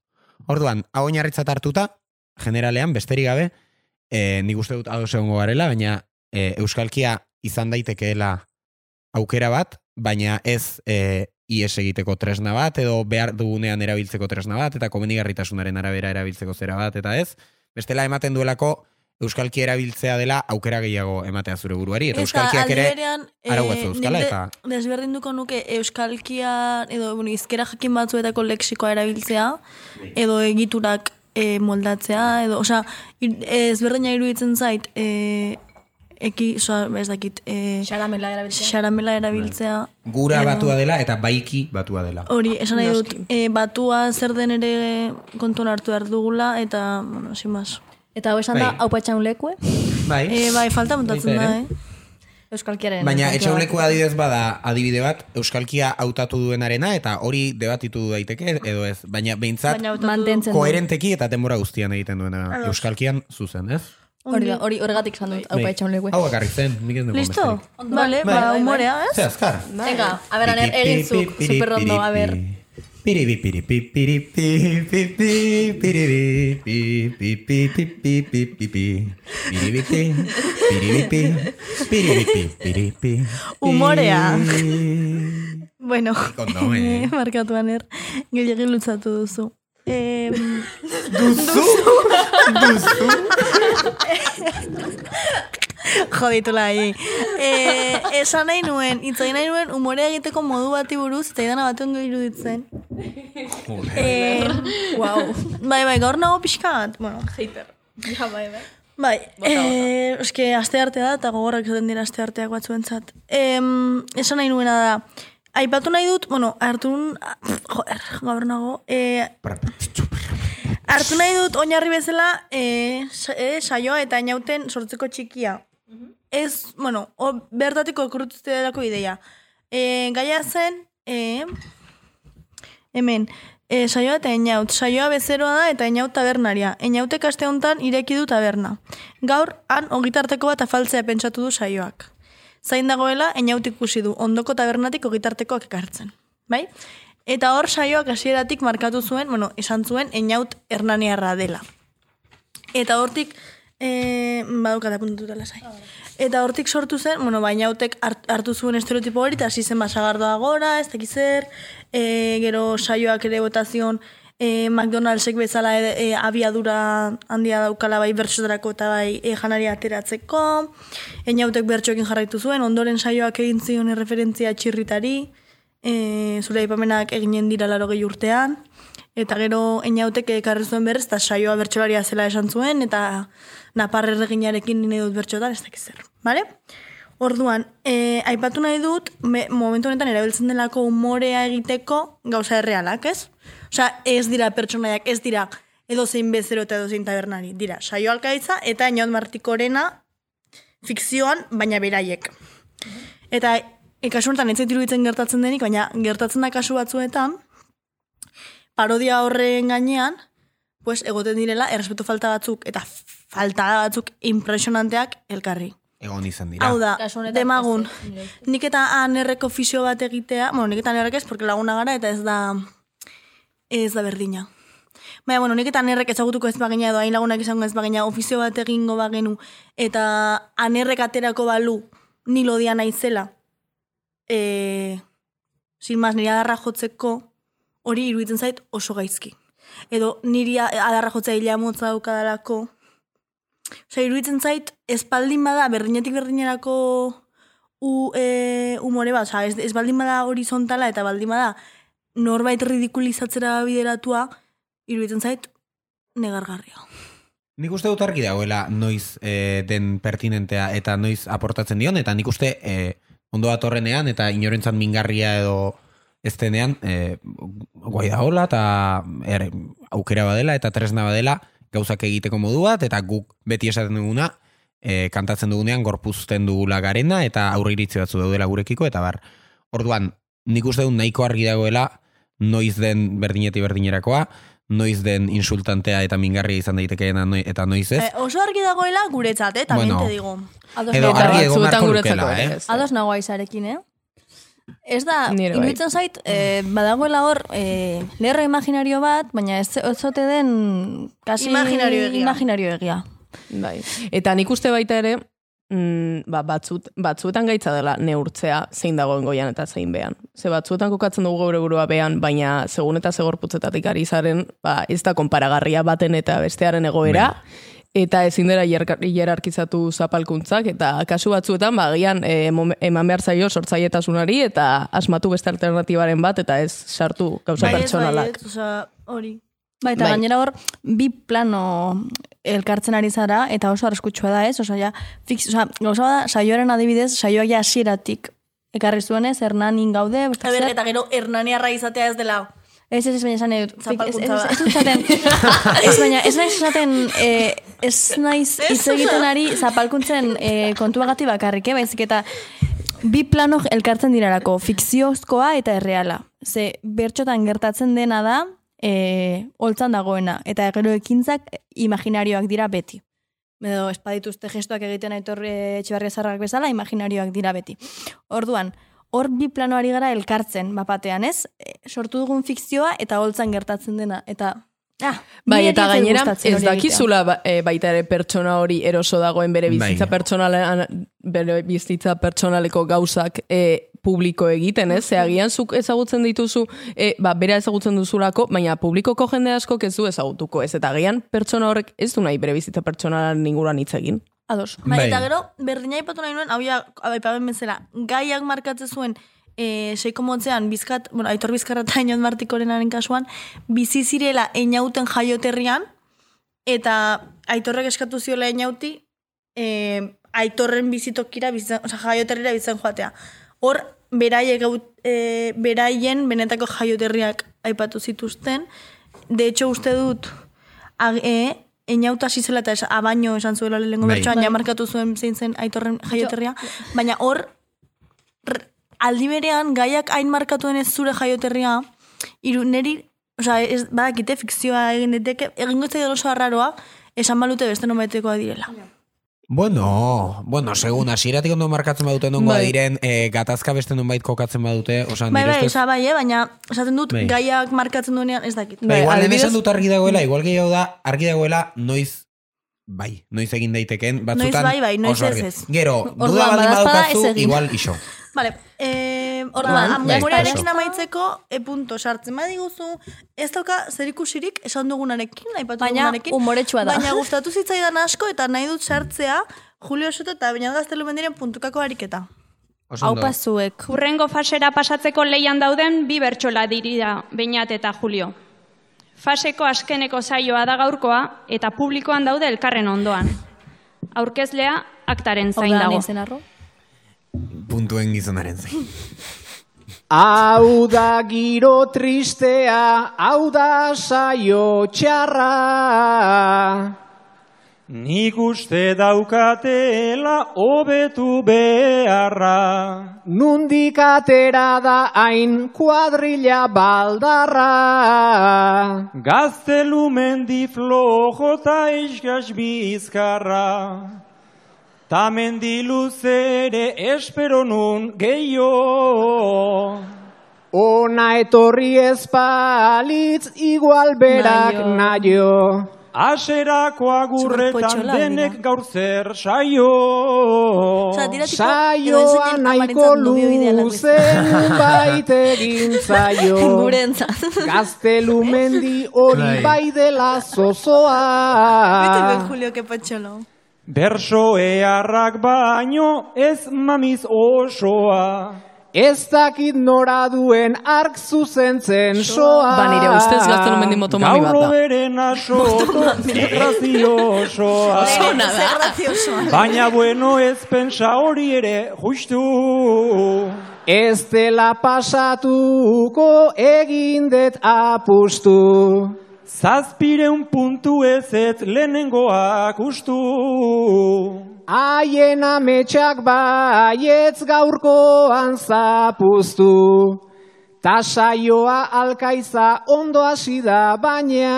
Speaker 3: Orduan, hau oinarritzat hartuta, generalean, besterik gabe, e, nik uste dut ados egongo garela, baina e, Euskalkia izan daitekeela aukera bat, baina ez e, IES egiteko tresna bat, edo behar dugunean erabiltzeko tresna bat, eta komenigarritasunaren arabera erabiltzeko zera bat, eta ez, bestela ematen duelako Euskalki erabiltzea dela aukera gehiago ematea zure buruari, eta
Speaker 2: Ez da,
Speaker 3: Euskalkiak
Speaker 2: aldi
Speaker 3: ere
Speaker 2: berean, eh,
Speaker 3: arau bat zeuzkala,
Speaker 2: nik de-
Speaker 3: eta...
Speaker 2: Desberdinduko nuke euskalkian, edo bueno, izkera jakin batzuetako leksikoa erabiltzea, edo egiturak eh, moldatzea, edo, osea, ir- ezberdina iruditzen zait, eh, eki, oza, ez dakit, e, xaramela erabiltzea.
Speaker 3: Bai. Gura
Speaker 2: Edo-
Speaker 3: batua dela eta baiki batua dela.
Speaker 2: Hori, esan nahi dut, e, batua zer den ere kontuan hartu behar dugula, eta, bueno, sin más.
Speaker 1: Eta hau esan
Speaker 3: da, Bai.
Speaker 1: hau patxan lekue.
Speaker 3: Bai.
Speaker 2: E, bai, falta
Speaker 3: Baita
Speaker 2: montatzen da,
Speaker 3: ere.
Speaker 2: eh? Bai,
Speaker 1: Euskalkiaren.
Speaker 3: Baina etxauleko adidez bada adibide bat Euskalkia hautatu duenarena eta hori debatitu daiteke edo ez. Baina behintzat
Speaker 1: Baina hautatu Mantentzen du.
Speaker 3: koherenteki eta denbora guztian egiten duena.
Speaker 1: Ados.
Speaker 3: Euskalkian zuzen, ez?
Speaker 1: Hori, da, hori horregatik esan dut, hau
Speaker 3: Bai.
Speaker 1: patxan lekue.
Speaker 3: Hau bakarrik zen, nik ez dugu
Speaker 1: Listo?
Speaker 2: Ondo. Vale,
Speaker 3: Bai.
Speaker 2: ba, umorea,
Speaker 3: Ze
Speaker 2: ez?
Speaker 3: azkar.
Speaker 1: Venga, a ber, aner, egin zuk, superrondo, a ber.
Speaker 3: Piribi, piribi, piribi, piribi, piribi, piribi, piribi, piribi, piribi, piribi, piribi, piribi.
Speaker 2: Umorea. bueno,
Speaker 3: Ondo, eh.
Speaker 2: markatu aner, gehiagin lutzatu duzu. Eh,
Speaker 3: duzu? duzu?
Speaker 2: Joditu lai. Eh, esan nahi nuen, itzai nahi nuen, umorea egiteko modu bati buruz, eta idana batuen iruditzen. Eh, wow. Bai, bai, gaur nago pixka bat, bueno. Hater.
Speaker 1: Ja, bai, bai.
Speaker 2: Bai, eh, eske aste arte da, eta gogorrak zaten dira aste arteak batzuentzat. Em, esan nahi nuena da, aipatu nahi dut, bueno, hartun, ah, joder, gaur nago, eh, hartu nahi dut oinarri bezala eh, sa- eh, saioa eta inauten sortzeko txikia. Ez, bueno, o, bertatiko okurrutuzte delako ideia. Eh, gaia zen, eh, Hemen, e, saioa eta eniaut. Saioa bezeroa da eta eniaut tabernaria. Eniautek aste honetan ireki du taberna. Gaur, han, ogitarteko bat afaltzea pentsatu du saioak. Zain dagoela, eniaut ikusi du, ondoko tabernatik ogitartekoak ekartzen. Bai? Eta hor saioak hasieratik markatu zuen, bueno, esan zuen, eniaut hernaniarra dela. Eta hortik, e, badukat apuntatuta lasai. Eta hortik sortu zen, bueno, baina hautek hart- hartu zuen estereotipo hori, eta hasi zen basagardoa gora, ez dakiz zer, e, gero saioak ere botazion, e, McDonald'sek bezala e, e, abiadura handia daukala bai bertsotarako eta bai e, janari ateratzeko, Einautek bertsoekin jarraitu zuen, ondoren saioak egin zion erreferentzia txirritari, e, zure aipamenak eginen dira laro gehi urtean, Eta gero einautek ekarri zuen berrez, eta saioa bertsolaria zela esan zuen, eta napar erreginarekin nire dut bertxotan, ez dakiz zer. Bale? Orduan, eh, aipatu nahi dut, me, momentu honetan erabiltzen delako umorea egiteko gauza errealak, ez? Osea, ez dira pertsonaiak, ez dira edozein bezero eta edozein tabernari. Dira, saio alkaitza eta inaut martikorena fikzioan, baina beraiek. Eta e, kasu honetan ez zait iruditzen gertatzen denik, baina gertatzen da kasu batzuetan, parodia horren gainean, pues egoten direla errespetu falta batzuk eta falta batzuk impresionanteak elkarri.
Speaker 3: Egon izan dira.
Speaker 2: Hau da, demagun, nik eta anerreko fisio bat egitea, bueno, nik eta anerrek ez, porque laguna gara, eta ez da, ez da berdina. Baina, bueno, nik eta anerrek ezagutuko ez bagina, edo hain lagunak izango ez bagina, ofizio bat egingo bagenu, eta anerrek aterako balu, ni lodia naizela, e, sin mas, nire adarra jotzeko, hori iruditzen zait oso gaizki. Edo niri a- adarra jotzea hila motza daukadalako, Osa, iruditzen zait, espaldin bada, berdinetik berdinerako u, e, umore bat, osa, ez, ez baldin bada horizontala eta baldin bada norbait ridikulizatzera bideratua, iruditzen zait, negargarria.
Speaker 3: Nik uste dut argi dagoela noiz eh, den pertinentea eta noiz aportatzen dion, eta nik uste eh, ondo datorrenean eta inorentzat mingarria edo ez denean eh, guai daola eta er, aukera badela eta tresna badela gauzak egiteko modu bat, eta guk beti esaten duguna, eh, kantatzen dugunean gorpuzten dugula garena eta aurreiritzi batzu daudela gurekiko, eta bar. Orduan, nik uste dut nahiko argi dagoela noiz den berdineti berdinerakoa, noiz den insultantea eta mingarria izan daitekeena noi- eta noiz ez.
Speaker 2: E, oso argi dagoela guretzat, eh, también
Speaker 3: Bueno.
Speaker 2: te digo.
Speaker 1: Ados
Speaker 3: Edo
Speaker 1: nago.
Speaker 3: argi egon beharko lukela, eh? ez?
Speaker 1: Ados nago aizarekin, eh? Ez da,
Speaker 4: Nire bai.
Speaker 1: iruditzen zait, eh, badagoela hor eh, lerro imaginario bat, baina ez ez ote den kasi
Speaker 2: Imaginario egia.
Speaker 1: imaginario egia.
Speaker 4: Bai. Eta nik uste baita ere, mm, ba, batzut, batzuetan gaitza dela neurtzea zein dagoen goian eta zein bean. Ze batzuetan kokatzen dugu geure burua bean, baina segun eta segorputzetatik ari zaren, ba, ez da konparagarria baten eta bestearen egoera, eta ezin dela hierka- hierarkizatu zapalkuntzak, eta kasu batzuetan, ba, gian, e, mom- eman behar zaio sortzaietasunari, eta asmatu beste alternatibaren bat, eta ez sartu gauza
Speaker 2: Bai, ez,
Speaker 4: pertsonalak.
Speaker 2: bai, ez, osea, hori.
Speaker 1: Bai, eta
Speaker 4: Bai.
Speaker 1: gainera hor, bi plano elkartzen ari zara, eta oso arriskutsua da ez, osea, ja, fix, osea, gauza bat da, saioaren adibidez, saioak ja hasieratik ekarri zuenez, Hernanin gaude,
Speaker 2: A
Speaker 1: beste
Speaker 2: ber,
Speaker 1: zer.
Speaker 2: eta gero hernaniarra izatea ez dela.
Speaker 1: Ez, ez, ez, baina esan dut. Ez, ez,
Speaker 2: Zapalkuntza
Speaker 1: ez,
Speaker 2: da.
Speaker 1: ez dut esaten, ez baina, ez naiz esaten, eh, ez naiz hitz egiten ari zapalkuntzen eh, kontuagati bakarrik, eh, baizik eta bi plano elkartzen dirarako, fikziozkoa eta erreala. Ze bertxotan gertatzen dena da, eh, holtzan dagoena, eta gero ekintzak imaginarioak dira beti. Edo espadituzte gestuak egiten aitorre etxebarria zarrak bezala, imaginarioak dira beti. Orduan, hor bi plano ari gara elkartzen, bapatean, ez? E, Sortu dugun fikzioa eta holtzan gertatzen dena, eta... Ah,
Speaker 4: Bai,
Speaker 1: niri
Speaker 4: eta
Speaker 1: ez zait
Speaker 4: gainera,
Speaker 1: gustatzen
Speaker 4: ez
Speaker 1: hori
Speaker 4: dakizula ba- e, baita ere pertsona hori eroso dagoen bere bizitza
Speaker 1: Bai.
Speaker 4: pertsonalean, bere bizitza pertsonaleko gauzak e, publiko egiten, ez? Ze agian zuk ezagutzen dituzu, e, ba, bera ezagutzen duzulako, baina publikoko jende askok ez du ezagutuko, ez? Eta agian pertsona horrek ez du nahi bere bizitza pertsonalen inguruan hitz egin.
Speaker 1: Ados.
Speaker 2: Bai,
Speaker 4: Bai.
Speaker 2: eta gero, berdina aipatu nahi nuen, hau ja, aipamen bezala, gaiak markatzen zuen, e, seiko motzean, bizkat, bueno, aitor bizkarra eta inot martikorenaren kasuan, bizi zirela einauten jaioterrian, eta aitorrek eskatu ziola einauti, e, aitorren bizitokira, bizitzen, oza, jaioterrira bizitzen joatea. Hor, beraiek, gaut- e, beraien benetako jaioterriak aipatu zituzten, de hecho uste dut, ag, e, Einauta hasi zela eta es, abaino esan zuela lehenko
Speaker 1: Bai.
Speaker 2: bertsoan,
Speaker 1: Bai.
Speaker 2: ja markatu zuen zein zen aitorren jaioterria. Baina hor, r- aldi berean, gaiak hain markatuen ez zure jaioterria, iru, neri, oza, ez, badakite fikzioa egin daiteke, egingo ez oso arraroa, esan balute beste nomaitekoa direla.
Speaker 3: Bueno, bueno, segun, hasieratik ondo markatzen badute nongoa
Speaker 2: Bai.
Speaker 3: diren, eh, gatazka beste nonbait kokatzen badute, osan
Speaker 2: Bai, bai,
Speaker 3: nire ustez-
Speaker 2: esa bai, eh, baina esaten dut
Speaker 3: Bai.
Speaker 2: gaiak markatzen duenean ez dakit. Bai,
Speaker 3: Ba, igual lehen esan dut argi
Speaker 1: Mm.
Speaker 3: dagoela, igual gehiago da, argi dagoela, noiz, bai, noiz egin daitekeen, batzutan
Speaker 2: bai, bai, noiz
Speaker 3: oso argi.
Speaker 2: ez, ez.
Speaker 3: Gero,
Speaker 2: Orduan,
Speaker 3: duda baldin
Speaker 2: badaezpada
Speaker 3: badaukazu,
Speaker 2: ez egin.
Speaker 3: igual iso.
Speaker 2: Vale, eh,
Speaker 3: Bai,
Speaker 2: orduan, am-
Speaker 3: bai,
Speaker 2: amorearekin
Speaker 3: kaso.
Speaker 2: amaitzeko, e punto sartzen badiguzu, ez dauka zerikusirik esan dugunarekin, aipatu
Speaker 1: Baina
Speaker 2: dugunarekin.
Speaker 1: umoretsua da.
Speaker 2: Baina gustatu zitzaidan asko eta nahi dut sartzea Julio Soto eta Beñat Gaztelu Mendiren puntukako ariketa.
Speaker 12: Oso ondo. Aupa
Speaker 1: zuek.
Speaker 12: Urrengo fasera pasatzeko leian dauden bi bertsola dirira Beñat eta Julio. Faseko askeneko saioa da gaurkoa eta publikoan daude elkarren ondoan. Aurkezlea aktaren
Speaker 1: Hau
Speaker 12: zain
Speaker 1: da,
Speaker 12: dago.
Speaker 1: naizen arro.
Speaker 3: Puntuen gizonaren zain.
Speaker 15: Hau da giro tristea, hau da saio txarra.
Speaker 14: Nik uste daukatela hobetu beharra.
Speaker 15: Nundik atera da hain kuadrilla baldarra.
Speaker 14: Gaztelu mendi flojo ta iskas bizkarra. Ta mendi luzere espero nun gehiago.
Speaker 15: Ona etorri ez palitz igual berak naio.
Speaker 14: Aserako agurretan
Speaker 15: Superpotxola
Speaker 14: denek gaur zer saio.
Speaker 15: Saioa nahiko luzen bait egin zaio. Gaztelu mendi hori
Speaker 14: Bai.
Speaker 15: bai dela zozoa.
Speaker 2: Julio, que patxolo.
Speaker 14: Berso eharrak baino ez mamiz osoa.
Speaker 15: Ez dakit nora duen ark zuzentzen soa.
Speaker 4: Ba, nire ustez gaztelu mendi motomami bat da.
Speaker 14: Gaur beren asoto graziosoa.
Speaker 4: Oso ona da.
Speaker 14: Baina bueno ez pensa hori ere justu.
Speaker 15: Ez dela pasatuko egin det apustu.
Speaker 14: Zazpireun puntu ez ez lehenengoak ustu.
Speaker 15: Haien ametsak baietz gaurkoan zapuztu. Ta saioa alkaiza ondo hasi da baina.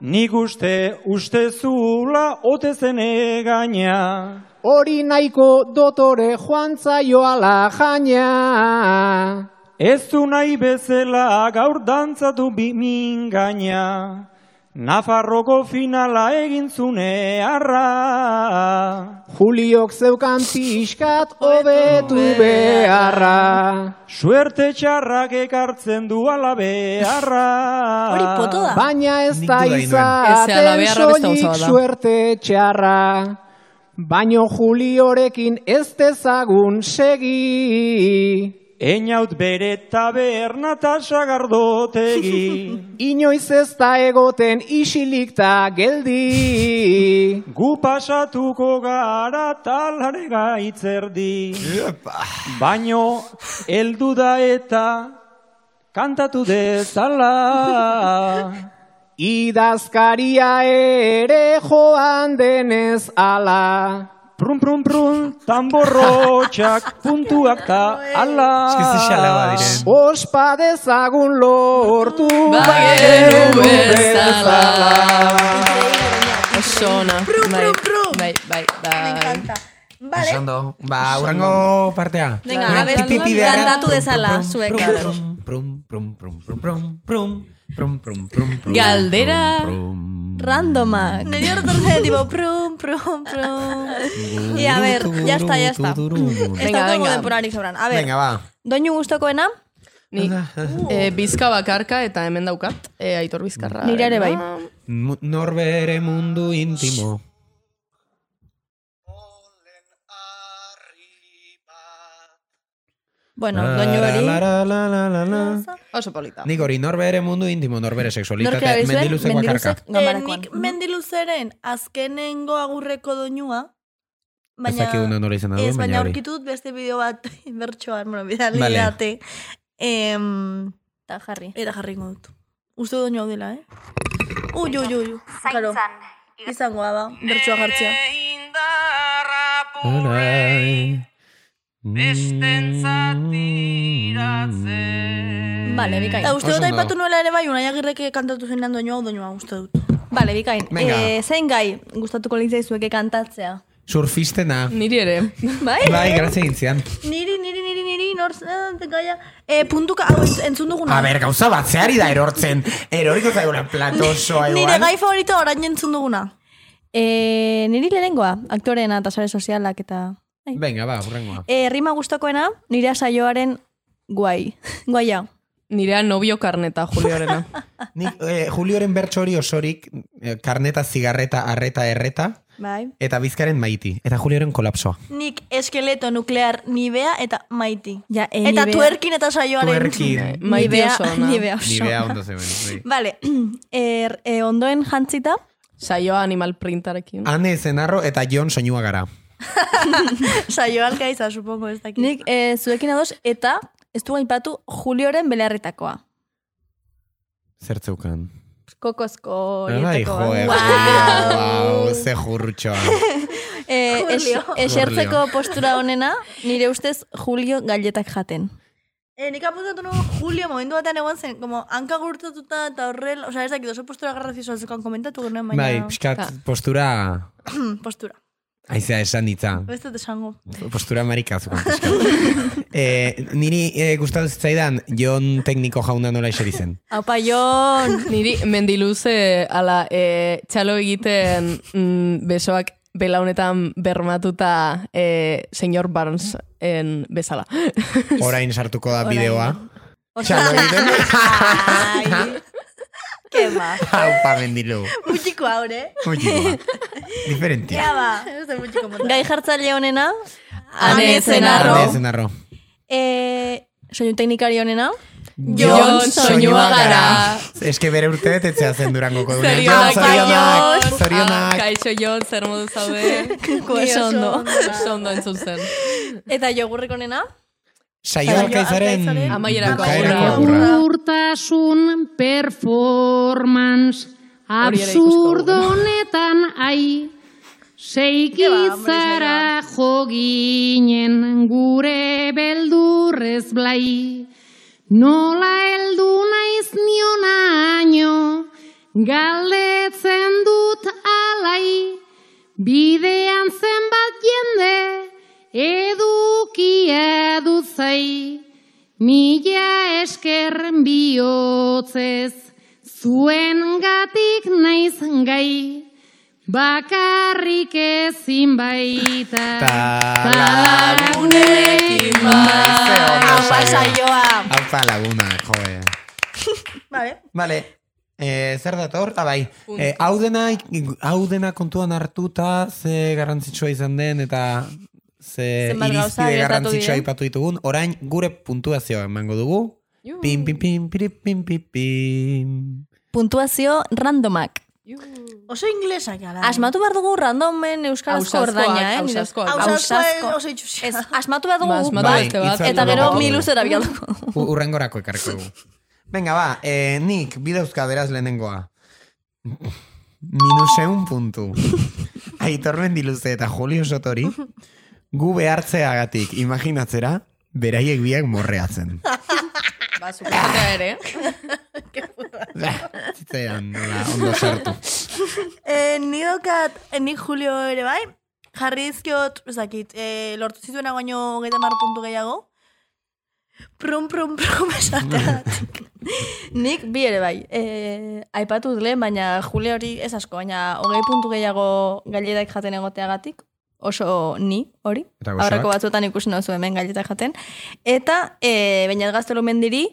Speaker 14: Nik uste uste zula ote zen egaina.
Speaker 15: Hori nahiko dotore joan zaioala jaina.
Speaker 14: Ez du nahi bezala gaur dantzatu bimingaina, Nafarroko finala egin zune arra.
Speaker 15: Juliok zeukan pixkat hobetu beharra.
Speaker 14: Suerte txarrak ekartzen du alabe arra.
Speaker 15: Hori poto da. Baina ez da
Speaker 14: dudai nuen. Ez, ala
Speaker 15: izaten
Speaker 14: beharra beste gauza
Speaker 15: soilik
Speaker 14: bat da.
Speaker 15: suerte txarra. Baino Juliorekin ez dezagun segi.
Speaker 14: Einaut bere taberna eta sagardotegi.
Speaker 15: Inoiz ez da egoten isilik ta geldi.
Speaker 14: Gu pasatuko gara talare gaitzerdi. Baino, heldu da eta kantatu dezala.
Speaker 15: Idazkaria ere joan denez ala.
Speaker 14: Prun, prun, prun, tamborrotxak, puntuak ta ala.
Speaker 15: Ospa dezagun lortu bagenu
Speaker 4: Bagenu Ba bezala.
Speaker 15: Osona.
Speaker 4: Bai, bai, bai, bai.
Speaker 2: Vale.
Speaker 3: Ondo. Ba, urrengo partea.
Speaker 1: Venga, a ver, landatu dezala, zuek.
Speaker 3: Prum, prum, prum, prum, prum, prum, prum, prum, prum, prum.
Speaker 1: Galdera randomak. Nire hortortzen, tipo, prum, prum, prum. Y a ver, ya está, ya está. Ez
Speaker 4: Venga,
Speaker 1: daukagu
Speaker 4: venga.
Speaker 1: denporarik sobran.
Speaker 2: Ah,
Speaker 1: A ver,
Speaker 4: Venga, ba.
Speaker 1: doinu gustokoena?
Speaker 4: Ni, eh, bizka bakarka eta hemen daukat, eh, aitor bizkarra.
Speaker 1: Nire ere bai.
Speaker 3: Mu- Norbere mundu intimo.
Speaker 1: Bueno,
Speaker 3: La,
Speaker 1: doinu hori.
Speaker 3: la, la, la, la, la, la.
Speaker 4: Oso polita.
Speaker 3: Nik hori norbere mundu intimo, norbere
Speaker 1: Norkera
Speaker 3: seksualitate,
Speaker 1: bizuen,
Speaker 3: mendiluzeko akarka.
Speaker 1: mendiluzek-
Speaker 2: Eh,
Speaker 1: Ganbarakoan.
Speaker 2: nik mendiluzeren azkenengo agurreko doinua,
Speaker 3: Ez
Speaker 2: baina...
Speaker 3: dakiguna nola izan da
Speaker 2: Ez,
Speaker 3: duen,
Speaker 2: baina
Speaker 3: baina hori.
Speaker 2: aurkitut beste bideo bat bertsoan, bueno, bidali
Speaker 3: Vale.
Speaker 2: date. Em, eta jarri. Eta jarriko dut. Uste doinu hau dela, eh? Ui, ui, ui, ui. Karo. Izango da, ba, bertsoa jartzea.
Speaker 13: uh,
Speaker 1: Vale, bikain.
Speaker 2: Eta uste dut
Speaker 1: Oso ondo.
Speaker 2: aipatu nuela ere bai, unai agirrek kantatu zenean doinu hau doinua uste dut.
Speaker 1: Bale, bikain.
Speaker 3: Venga.
Speaker 1: Eh, zein gai gustatuko litzaizueke kantatzea?
Speaker 3: Surfistena.
Speaker 4: Niri ere.
Speaker 1: Bai?
Speaker 3: Bai, grazia gintzian.
Speaker 2: Niri, niri, niri, niri, norz, eh, gaia. Eh, puntuka, hau entz- entzun duguna.
Speaker 3: A ber, gauza bat, zehari da erortzen. Eroriko zaiguna platosoa
Speaker 2: Nire
Speaker 3: igual.
Speaker 2: gai favorito orain entzun duguna.
Speaker 1: Eh, niri lehenengoa, aktoreena eta sare sozialak eta...
Speaker 3: Venga, ba, hurrengoa.
Speaker 1: Eh, rima gustokoena, nire saioaren guai. Guaia.
Speaker 4: Nirea novio karneta, Juliorena.
Speaker 3: Nik, eh, Julioren bertso hori osorik, eh, karneta, zigarreta, arreta, erreta,
Speaker 2: Bai.
Speaker 3: eta bizkaren maiti. Eta Julioren kolapsoa.
Speaker 2: Nik eskeleto nuklear nibea eta maiti.
Speaker 1: Ja, e,
Speaker 3: eh,
Speaker 2: eta
Speaker 3: nibea-
Speaker 2: tuerkin eta saioaren.
Speaker 4: Eh,
Speaker 3: Tuerkin.
Speaker 1: Maite Nibea- oso ona. nibea oso
Speaker 3: Nibea
Speaker 1: ona.
Speaker 3: ondo zemen. bai.
Speaker 1: Vale, er, eh, ondoen jantzita.
Speaker 4: Saioa animal printarekin.
Speaker 3: Ane zenarro eta Jon soinua gara.
Speaker 1: Saio alkaiza, supongo, ez dakit. Nik eh, zuekin ados, eta ez du gainpatu Julioren belarretakoa.
Speaker 3: Zertzeukan.
Speaker 1: Kokozko
Speaker 3: Ai,
Speaker 1: horietako
Speaker 3: Bai, joe,
Speaker 1: bat.
Speaker 3: Julio, wow, ze jurrutxoa.
Speaker 1: Eh, es,
Speaker 2: Julio.
Speaker 1: esertzeko
Speaker 3: Julio.
Speaker 1: postura honena, nire ustez Julio galletak jaten.
Speaker 2: Eh, nik apuntatu nuen Julio momentu batean egon zen, como hanka gurtatuta eta horrel, osea ez dakit oso postura garrazioa zekan komentatu genuen, baina...
Speaker 3: Bai, pixkat postura...
Speaker 2: postura.
Speaker 3: Aizea esan ditza.
Speaker 2: Ez dut esango.
Speaker 3: Postura marikazukan pixkat. eh, niri eh, gustatu zitzaidan Jon tekniko jauna nola eseri zen.
Speaker 1: Aupa jon!
Speaker 4: Niri mendiluze, ala, e, txalo egiten mm, besoak belaunetan bermatuta e, senyor Barnes en bezala.
Speaker 3: Orain sartuko da
Speaker 4: Orain.
Speaker 3: bideoa.
Speaker 4: Txalo egiten.
Speaker 2: Kema.
Speaker 3: Haupa mendilu.
Speaker 2: Mutxiko haure.
Speaker 3: Mutxikoa. Diferentia.
Speaker 2: Ja, ba. eh? Ez da mutxiko mota.
Speaker 1: Gai jartzaile honena,
Speaker 2: Ane
Speaker 1: Zenarro.
Speaker 3: Ane zenarro.
Speaker 1: eh, soinu teknikari honena,
Speaker 3: Eske bere urte betetzea zen durangoko duen.
Speaker 4: Zorionak,
Speaker 3: zorionak,
Speaker 4: Jon. Ah,
Speaker 3: zorionak.
Speaker 4: Kaixo Jon, zer modu zaude.
Speaker 1: Ko oso ondo.
Speaker 4: Oso ondo entzun zen.
Speaker 1: Eta jogurrek honena,
Speaker 3: Saio alkaizaren
Speaker 4: Amaierako
Speaker 3: bukaerako
Speaker 4: agurra.
Speaker 3: agurra.
Speaker 16: Urtasun performance
Speaker 4: Hori ere ikusko
Speaker 16: absurdo honetan ai
Speaker 4: ba,
Speaker 16: Seikitzara jo ginen gure beldurrez blai Nola heldu naiz nionaino galdetzen dut alai Bidean zenbat jende edukia dut zai Mila esker bihotzez, zuen gatik naiz gai, bakarrik ezin baita. Talagunekin
Speaker 3: Haupa
Speaker 1: saioa.
Speaker 3: Haupa laguna, joe.
Speaker 2: Vale.
Speaker 3: Vale. Eh, zer dator? Ah, bai. Eh, hau dena, hau dena kontuan hartuta, ze garrantzitsua izan den, eta ze
Speaker 1: Zenbat
Speaker 3: irizpide
Speaker 1: gauza gertatu
Speaker 3: garrantzitsua
Speaker 1: diren.
Speaker 3: aipatu ditugun, orain gure puntuazioa emango dugu. Pim, pim, pim, pim, pim, pim, pim.
Speaker 1: Puntuazio randomak.
Speaker 2: Oso inglesa eh? gara.
Speaker 1: Asmatu behar dugu randomen euskarazko
Speaker 2: Ausazkoak,
Speaker 1: ordaina, eh? nire-
Speaker 2: ausazkoak.
Speaker 1: Ausazko.
Speaker 2: Ausazkoa oso itxusia.
Speaker 1: Ez, asmatu behar dugu
Speaker 3: Ba,
Speaker 1: guk
Speaker 3: asmatu
Speaker 1: bai,
Speaker 3: Ba,
Speaker 1: bat,
Speaker 3: beste bat.
Speaker 1: eta gero
Speaker 3: Hitzaldi
Speaker 1: mi
Speaker 3: bat.
Speaker 1: luzera bialduko.
Speaker 3: U- Urrengorako ekarriko dugu. Venga, ba, eh, nik bidauzka beraz lehenengoa. Minuseun puntu. Aitor Mendiluze eta Julio Sotori gu behartzeagatik imaginatzera beraiek biak morreatzen.
Speaker 4: Ba, suposaka ere.
Speaker 3: Ba. Zitzean, nola, ondo sartu.
Speaker 2: eh, ni daukat, eh, nik Julio ere bai, jarri dizkiot, ez dakit, eh, lortu zituena baino hogeita hamar puntu gehiago. Prum, prum, prum, esatea.
Speaker 1: Nik bi ere bai. E, aipatu dut lehen, baina Julio hori ez asko, baina hogei puntu gehiago gailetak jaten egoteagatik. Oso ni hori.
Speaker 2: Eta gozoak.
Speaker 1: Aurreko batzuetan ikusi nauzu hemen gailetak jaten. Eta, e, baina gaztelu mendiri,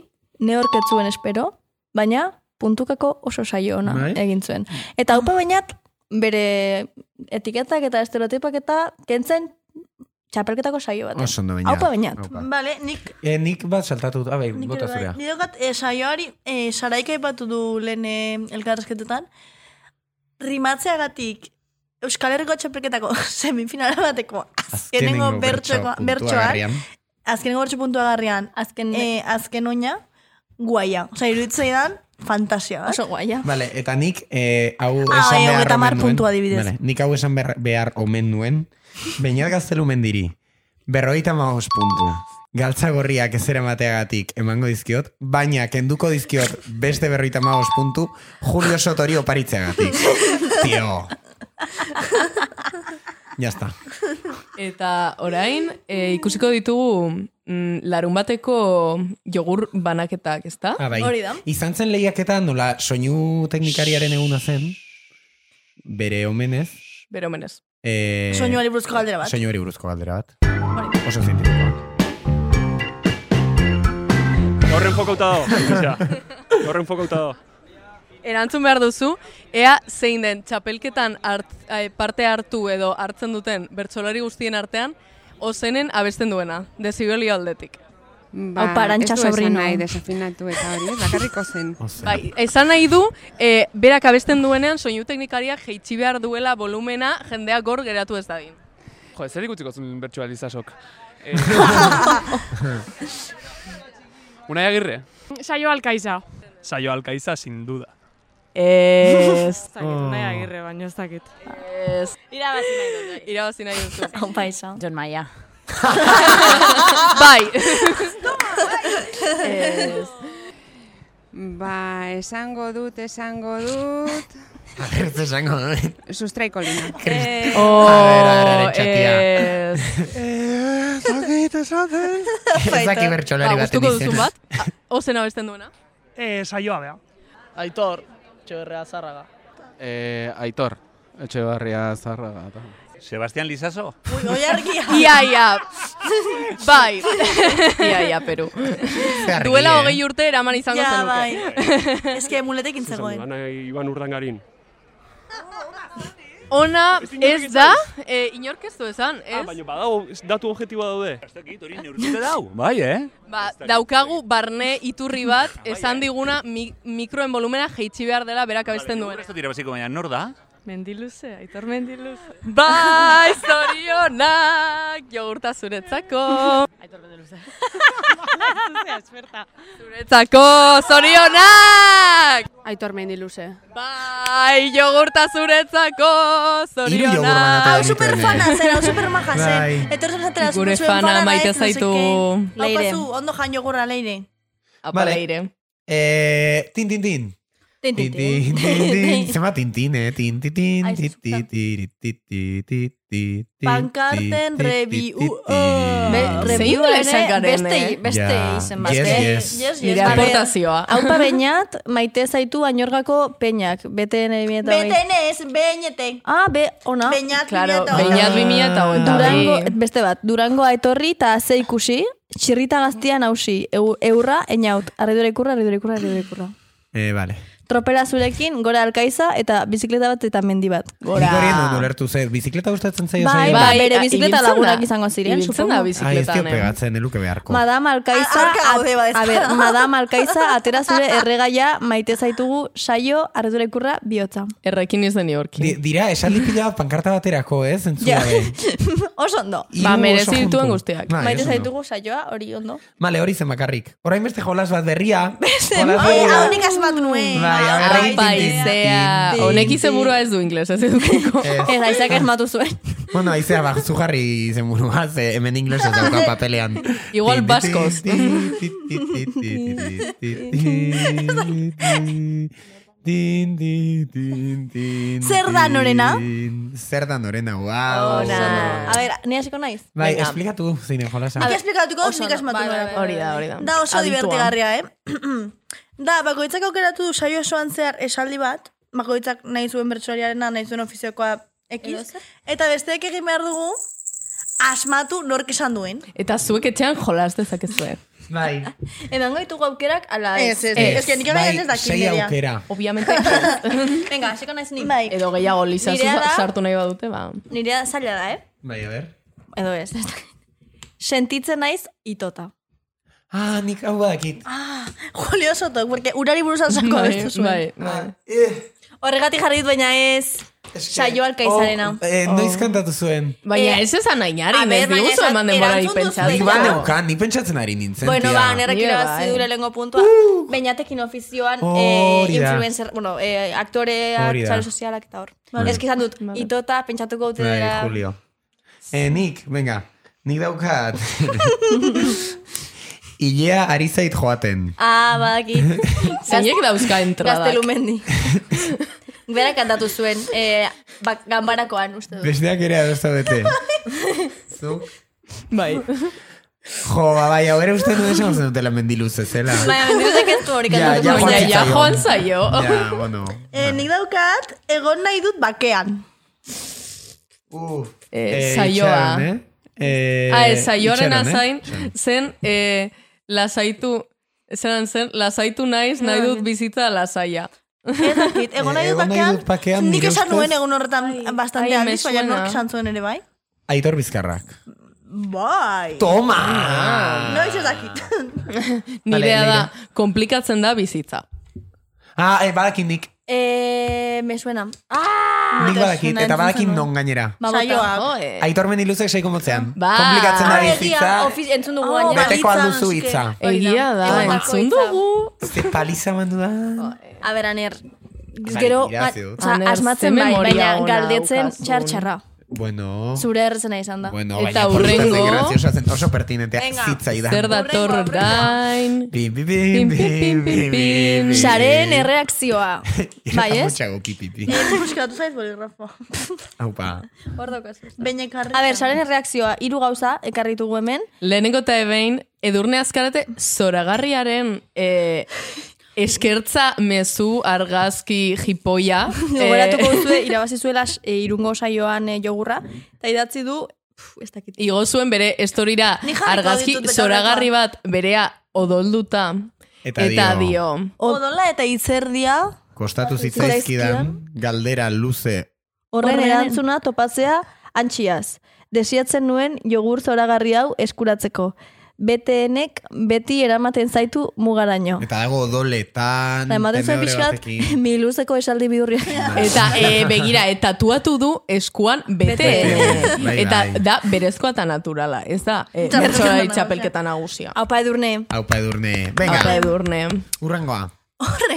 Speaker 1: neorketzuen espero, baina puntukako oso saio ona
Speaker 2: Bai.
Speaker 1: egin zuen. Eta upa bainat, bere etiketak eta estereotipak eta kentzen txapelketako saio bat.
Speaker 3: Oso ondo baina.
Speaker 1: Aupa bainat.
Speaker 3: Aupa.
Speaker 2: Vale, nik,
Speaker 3: Eh, nik bat saltatu dut, abai,
Speaker 2: nik
Speaker 3: bota
Speaker 2: ere bai.
Speaker 3: zurea.
Speaker 2: Ni daukat, eh, saioari, eh, saraika aipatu du lehen eh, elkarrezketetan, rimatzeagatik Euskal Herriko txapelketako semifinala bateko azkenengo bertsoa, bertsoan, Azkenengo bertso puntua garrian, azken, eh, azken oina, guaia. Osa, iruditzen dan, fantasia. eh? Bat.
Speaker 1: Oso guaia.
Speaker 3: Vale, eta nik eh, hau
Speaker 2: Ah,
Speaker 3: esan
Speaker 2: bai,
Speaker 3: behar
Speaker 2: hogeita hamar
Speaker 3: omen nuen.
Speaker 2: puntu adibidez.
Speaker 3: Vale, nik hau esan behar, behar omen nuen. Beñat gaztelu mendiri, berrogeita maoz puntu. Galtza gorriak ez eramateagatik emango dizkiot, baina kenduko dizkiot beste berrogeita maoz puntu Julio Sotori oparitzeagatik. Tio. Ya está.
Speaker 4: Eta orain, e, ikusiko ditugu mm, larun bateko jogur banaketak, ezta?
Speaker 3: Ah, bai. Izan zen lehiaketa nola soinu teknikariaren eguna zen, bere omenez.
Speaker 4: Bero menez.
Speaker 3: Eh,
Speaker 4: Soinuari buruzko galdera bat.
Speaker 3: Soinuari buruzko galdera bat. Oso zientifikoa.
Speaker 14: Horren fokauta dago, Luisa. Horren fokauta dago.
Speaker 4: Erantzun behar duzu, ea zein den txapelketan hart, ai, parte hartu edo hartzen duten bertsolari guztien artean, ozenen abesten duena, dezibelio aldetik.
Speaker 11: Ba,
Speaker 1: Hau
Speaker 4: Ba,
Speaker 1: parantxa
Speaker 4: ez du esan
Speaker 1: sobrino.
Speaker 4: nahi
Speaker 1: desafinatu eta hori,
Speaker 4: bakarrik
Speaker 1: zen.
Speaker 4: Bai, esan nahi du, e, berak abesten duenean soinu teknikariak jeitsi behar duela volumena jendea gor geratu ez dadin.
Speaker 14: Jo, zer ikutziko zuen bertsoa Lizasok? Eh, Unai Agirre,
Speaker 17: Saio alkaiza.
Speaker 14: saio alkaiza sin duda. Oh.
Speaker 4: Ez.
Speaker 17: Unai agirre, baino ez dakit.
Speaker 4: Ez.
Speaker 17: Irabazi nahi dut.
Speaker 4: Irabazi nahi duzu.
Speaker 1: Konpaisa.
Speaker 18: John Maia.
Speaker 4: bai.
Speaker 18: Ez. Ba, esango dut, esango dut.
Speaker 3: Agertze esango.
Speaker 18: Sustraiko lina.
Speaker 3: Eh,
Speaker 18: Oh,
Speaker 3: A ver, a ver, etxatia.
Speaker 18: Ez
Speaker 14: dakit esaten.
Speaker 3: Ez daki bertsolari
Speaker 4: Ba,
Speaker 3: baten
Speaker 4: gustuko
Speaker 3: izena.
Speaker 4: duzun bat? Ozen abesten duena?
Speaker 14: Eh, saioa bea.
Speaker 19: Aitor, txoberrea zarraga.
Speaker 20: Eh, Aitor, Etxebarria Zarraga. Sebastián Lizaso?
Speaker 2: Oi argia.
Speaker 4: Ia, ia. Bai. Ia, ia, Peru.
Speaker 20: argi,
Speaker 4: Duela
Speaker 20: eh?
Speaker 4: hogei urte eraman izango
Speaker 2: Ja,
Speaker 4: zenuke.
Speaker 2: bai. Ez que muletekin zegoen.
Speaker 14: Iban urdangarin.
Speaker 4: Ona ez da, e, inork ez du esan, ez?
Speaker 14: Ah, Baina badago, datu objektiboa daude. Ez dakit, hori neurtuta dau.
Speaker 20: Bai, eh?
Speaker 4: Ba, daukagu barne iturri bat,
Speaker 14: Ah, bai, eh.
Speaker 4: esan diguna mi, mikroen volumena jeitsi behar dela berak abesten duena.
Speaker 20: Ez dut irabaziko baina nor da?
Speaker 4: Mendiluze, aitor mendiluze. Bai, zorionak, jogurta zuretzako.
Speaker 17: Aitor Mendeluze.
Speaker 4: Zuzea, esperta. Zuretzako, zorionak!
Speaker 17: Aitor Mendiluze.
Speaker 4: Bai, jogurta zuretzako,
Speaker 3: Hiru jogur
Speaker 4: zorionak.
Speaker 2: Ah,
Speaker 3: banatu genituen, eh.
Speaker 2: zera, supermaja zen.
Speaker 3: Bai.
Speaker 2: Etorri zen zatera,
Speaker 4: Gure
Speaker 2: zuen
Speaker 4: fana
Speaker 2: ez,
Speaker 4: maite
Speaker 2: no sé
Speaker 4: zaitu.
Speaker 2: qué. Hau
Speaker 4: Leire.
Speaker 2: pasu, ondo jan jogurra leire.
Speaker 3: Vale. Eh, tin, tin, tin.
Speaker 2: Tin, tin, tin.
Speaker 3: tin, tin. Zema tin, tin, eh? Tin, tin, tin, ti, ti, ti, ti, ti, ti, ti, ti, ti,
Speaker 2: Pankarten
Speaker 3: ti,
Speaker 2: review.
Speaker 3: ti, ti.
Speaker 1: Review
Speaker 4: Zein
Speaker 1: ere
Speaker 4: izan garen,
Speaker 1: Bai. beste,
Speaker 4: eh?
Speaker 1: beste
Speaker 3: Ja,
Speaker 1: izen bat.
Speaker 3: yes,
Speaker 1: eh?
Speaker 3: yes. Yes, yes,
Speaker 1: Nire
Speaker 4: yes.
Speaker 1: aportazioa. Haupa
Speaker 4: Vale.
Speaker 1: bainat, maite zaitu ainorgako peinak. Beten eta
Speaker 2: Beten ez, beñete.
Speaker 1: Ah, be, ona.
Speaker 2: Beñat,
Speaker 1: Claro,
Speaker 4: Beinat 2000 eta hogeita bi.
Speaker 1: Durango, eh, beste bat, Durango etorri eta ze ikusi, txirrita gaztia nausi, Eu- eurra, einaut, arridura ikurra, arridura ikurra, arridura ikurra.
Speaker 3: Eh, vale.
Speaker 1: Tropera zurekin, gora alkaiza eta bizikleta bat eta mendi bat. Gora.
Speaker 3: Nik hori non ulertu ze, bizikleta gustatzen zaio
Speaker 1: Bai,
Speaker 3: zaio?
Speaker 1: ba, bere bizikleta lagunak izango ziren,
Speaker 4: Ibiltzen da
Speaker 1: supongo.
Speaker 3: Ai, ez dio
Speaker 4: bizikletan, eh?
Speaker 3: pegatzen, eluke beharko.
Speaker 1: Madame Alkaiza,
Speaker 2: Arka gaude, ba, ez da.
Speaker 1: a, a ber, Madame Alkaiza, atera zure erregaia maite zaitugu saio, arretura ikurra, bihotza.
Speaker 4: Errekin ez da ni
Speaker 3: Di, dira, esaldi pila bat pankarta baterako, eh, ez? Entzua
Speaker 1: Ja.
Speaker 3: be.
Speaker 1: Oso ondo.
Speaker 3: Ba, Hiru merezi oso dituen junto. guztiak. Bai,
Speaker 1: Maite
Speaker 3: oso ondo.
Speaker 1: zaitugu saioa, hori ondo.
Speaker 3: Male, hori zen bakarrik. Orain beste jolas bat berria.
Speaker 2: Bai,
Speaker 3: Jolas
Speaker 1: Eh,
Speaker 3: berria.
Speaker 1: hau nik asmatu nuen.
Speaker 3: Bai, a ber,
Speaker 4: Ai,
Speaker 3: tin, tin,
Speaker 4: paizea.
Speaker 3: tin, tin,
Speaker 4: Honek
Speaker 3: tin.
Speaker 4: izenburua ez du ingles, ez edukiko.
Speaker 1: Ez, aizak esmatu zuen.
Speaker 3: Bueno, aizea, ba, zu jarri izen burua, ze hemen inglesez daukan papelean.
Speaker 4: Igual
Speaker 3: Tin, tin,
Speaker 4: baskoz.
Speaker 3: Din, din, din, din,
Speaker 1: Zer da
Speaker 3: din,
Speaker 1: norena?
Speaker 3: din. Zer da norena, wow.
Speaker 1: Ona. A ber, ni hasiko naiz.
Speaker 3: Bai,
Speaker 1: Venga.
Speaker 3: esplikatu zeine jolasa.
Speaker 2: Nik esplikatuko,
Speaker 1: Oso
Speaker 2: nik
Speaker 1: ondo.
Speaker 2: asmatu
Speaker 1: Bai, bai,
Speaker 2: nuen.
Speaker 1: bai, Hori da, hori da.
Speaker 2: Da oso
Speaker 1: Aditua.
Speaker 2: divertigarria, eh? da, bakoitzak aukeratu du saio osoan zehar esaldi bat, bakoitzak nahi zuen bertsolariarena, nahi zuen ofiziokoa ekiz, eta besteek egin behar dugu, asmatu nork esan duen.
Speaker 4: Eta zuek etxean jolas dezakezue.
Speaker 3: Bai.
Speaker 1: Emango ditugu aukerak ala
Speaker 2: Ez, ez, ez. Ez que nik orain Bai, ez dakit sei nirea. aukera.
Speaker 4: Obviamente.
Speaker 1: Venga, hasiko naiz ni.
Speaker 4: Edo gehiago lisa
Speaker 1: Bai. Nirea da-
Speaker 4: sartu nahi badute, ba.
Speaker 1: Nirea zaila da, eh?
Speaker 3: Bai, a ber.
Speaker 1: Edo ez. ez dakit. Sentitzen naiz itota.
Speaker 3: Ah, nik hau badakit.
Speaker 1: Ah,
Speaker 2: Julio Soto, porque urari buruz alzako
Speaker 1: Bai,
Speaker 2: abestu zuen.
Speaker 1: bai,
Speaker 4: bai.
Speaker 1: Horregatik jarri dit, baina ez saio
Speaker 2: Oh,
Speaker 1: alkaizarena. Eh,
Speaker 3: Eh, noiz kantatu zuen?
Speaker 4: Baina ez esan ainari,
Speaker 1: a
Speaker 4: ez
Speaker 1: ber, baina
Speaker 4: diguzu
Speaker 1: esan-
Speaker 4: eman denbora
Speaker 1: erantzun duzu
Speaker 4: pentsatzen.
Speaker 3: Eh, Nik ba neukan, nik pentsatzen ari nintzen.
Speaker 1: Bueno,
Speaker 3: tia.
Speaker 1: ba, nerrek
Speaker 4: Nire
Speaker 1: irabazi
Speaker 4: bai.
Speaker 3: eh.
Speaker 1: du lehengo puntua.
Speaker 3: Uh.
Speaker 1: Beñatekin ofizioan,
Speaker 3: Oh,
Speaker 1: eh,
Speaker 3: Hori da.
Speaker 1: influencer, bueno, eh, aktoreak,
Speaker 3: Hori da.
Speaker 1: sare sozialak eta hor.
Speaker 3: Vale.
Speaker 1: Ez que izan dut,
Speaker 2: Tota,
Speaker 1: itota, pentsatuko dute
Speaker 3: Bai,
Speaker 1: dela.
Speaker 3: Julio. Eh, nik, venga, nik daukat. Ilea ari zait joaten.
Speaker 1: Ah, badakit.
Speaker 4: Zeinek dauzka entradak?
Speaker 1: Gaztelumendi. Berak kantatu zuen, eh, ba, ganbarakoan, uste dut.
Speaker 3: Besteak ere adosta bete. Zuk?
Speaker 4: Bai.
Speaker 3: Jo, ba, bai, hau ere uste nuen esan zen dutela mendiluz zela.
Speaker 4: Bai,
Speaker 1: Baina, mendirutek ez du hori
Speaker 3: Ja, ja,
Speaker 1: kantatu.
Speaker 3: joan
Speaker 4: Baina, ja,
Speaker 3: zitzaion.
Speaker 4: joan zaio.
Speaker 3: Ja, bueno.
Speaker 2: Eh, nik daukat, egon nahi dut bakean.
Speaker 3: Uh,
Speaker 4: Eh, saioa.
Speaker 3: itxaron, eh? Eh,
Speaker 4: Ah, ez, saioaren
Speaker 3: itxaron, eh?
Speaker 4: azain,
Speaker 3: Itxaron.
Speaker 4: zen, eh, lasaitu, zeran zen, lasaitu naiz,
Speaker 1: Ah,
Speaker 4: nahi dut bizitza lasaia.
Speaker 2: Ez dakit, egon nahi
Speaker 3: Eh, Egon nahi
Speaker 2: dut bakean,
Speaker 3: dut bakean,
Speaker 2: nik
Speaker 3: nire
Speaker 2: esan
Speaker 3: ustez-
Speaker 2: nuen egun horretan bastante
Speaker 4: ai, me
Speaker 2: aldiz, baina
Speaker 4: suena.
Speaker 2: nork esan zuen ere bai.
Speaker 3: Aitor Bizkarrak.
Speaker 2: Bai.
Speaker 3: Toma!
Speaker 2: Noiz ez dakit.
Speaker 4: Nirea
Speaker 3: Vale,
Speaker 4: da,
Speaker 3: leire.
Speaker 4: komplikatzen da bizitza.
Speaker 3: Ah, eh, badakit nik.
Speaker 1: Eh, me suena. Ah!
Speaker 3: Nik
Speaker 1: Me
Speaker 3: badakit,
Speaker 1: suena,
Speaker 3: eta
Speaker 1: entzun
Speaker 3: badakit
Speaker 1: zenuen.
Speaker 3: non gainera.
Speaker 1: Ba, bota.
Speaker 3: Aitor mendiluzek seiko motzean.
Speaker 1: Ba.
Speaker 3: Komplikatzen da
Speaker 1: Ah, egia,
Speaker 3: bizitza.
Speaker 1: ofiz- entzun dugu
Speaker 3: Oh,
Speaker 1: gainera.
Speaker 3: beteko alduzu hitza.
Speaker 4: Egia da,
Speaker 1: Emandako
Speaker 4: entzun
Speaker 1: hitza.
Speaker 4: dugu.
Speaker 3: Ze paliza mandu da.
Speaker 1: A ber, aner.
Speaker 3: Bai,
Speaker 1: Gero,
Speaker 3: dira,
Speaker 1: ba-
Speaker 3: zeo.
Speaker 1: osea,
Speaker 4: Aner,
Speaker 1: asmatzen
Speaker 4: ze
Speaker 1: bai,
Speaker 4: memoria
Speaker 1: baina
Speaker 4: ona
Speaker 1: galdetzen
Speaker 4: daukazun.
Speaker 1: txar-txarra.
Speaker 3: Bueno.
Speaker 1: Zure errezena izan da.
Speaker 3: Bueno,
Speaker 4: Eta
Speaker 3: baina polita
Speaker 4: hurrengo-
Speaker 3: zen, graziosa zen, oso pertinentea
Speaker 1: Venga.
Speaker 3: zitzaidan.
Speaker 4: Zer dator orain.
Speaker 3: Bim, bim, bim, bim, bim, bim.
Speaker 1: Sareen
Speaker 3: Eh,
Speaker 1: erreakzioa. bai, ez?
Speaker 3: Mutxago, pipi, pipi.
Speaker 2: Eh, buskatu zaiz boligrafoa.
Speaker 3: Aupa.
Speaker 1: Hor daukaz.
Speaker 2: Beinek harri.
Speaker 1: A ber, saren erreakzioa, hiru gauza, ekarri ditugu hemen.
Speaker 4: Lehenengo eta ebein, edurne azkarate zoragarriaren eh, eskertza mezu argazki jipoia.
Speaker 1: Gogoratuko duzue, irabazi zuela eh, irungo saioan eh, jogurra. Eta idatzi du, pf, ez dakit.
Speaker 4: Igo zuen bere estorira
Speaker 1: Ni jarriko
Speaker 4: argazki
Speaker 1: ditut betaurrekoa.
Speaker 4: zoragarri bat berea odolduta.
Speaker 3: Eta dio.
Speaker 2: Odola eta itzerdia.
Speaker 3: Kostatu zitzaizkidan galdera luze.
Speaker 1: Horren erantzuna topatzea antxiaz. Desiatzen nuen jogur zoragarri hau eskuratzeko. BTNek beti eramaten zaitu mugaraino.
Speaker 3: Eta dago odoletan.
Speaker 1: Eta ematen zuen
Speaker 3: tenebra
Speaker 1: pixkat,
Speaker 3: batekin.
Speaker 1: miluzeko esaldi bihurria.
Speaker 4: Eta eh, begira, eta tatuatu du eskuan bete.
Speaker 3: Bete. Bai,
Speaker 4: eta
Speaker 3: bai.
Speaker 4: da berezkoa eta naturala. Ez da, eh,
Speaker 1: Txapelketa
Speaker 4: bertsolari
Speaker 1: nagusia.
Speaker 4: txapelketa nagusia.
Speaker 1: Aupa edurne.
Speaker 3: Aupa edurne.
Speaker 4: Aupa
Speaker 3: Venga,
Speaker 4: edurne.
Speaker 3: urrengoa.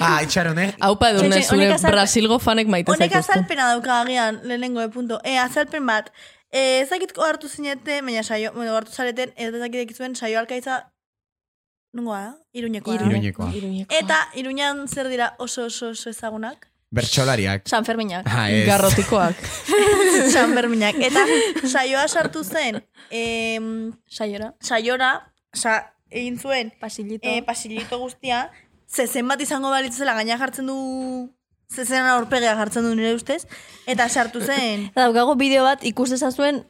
Speaker 3: Ah, itxaron, eh?
Speaker 4: Aupa edurne,
Speaker 2: Txetxe,
Speaker 4: zure
Speaker 2: honek azal-
Speaker 4: Brasilgo fanek maite
Speaker 2: Honek
Speaker 4: zaituztu.
Speaker 2: azalpena dauka agian, lehenengo de punto. E, azalpen bat. E, ezakitko hartu zinete, baina saio, bueno, hartu zareten, ez ezakitek zuen saio alkaiza Nungoa da? Iruñekoa da.
Speaker 3: Iruñekoa.
Speaker 2: Eta Iruñan zer dira oso oso oso ezagunak?
Speaker 3: Bertxolariak.
Speaker 1: San Ferminak.
Speaker 3: Ah, ez.
Speaker 4: Garrotikoak.
Speaker 2: San Ferminak. Eta saioa sartu zen. em,
Speaker 1: saiora.
Speaker 2: Saiora. Sa, egin zuen. Pasillito. Eh, pasillito guztia. Zezen bat izango balitzela gaina jartzen du... Zezen aurpegia jartzen du nire ustez. Eta sartu zen.
Speaker 1: Eta daukagu bideo bat ikus dezazuen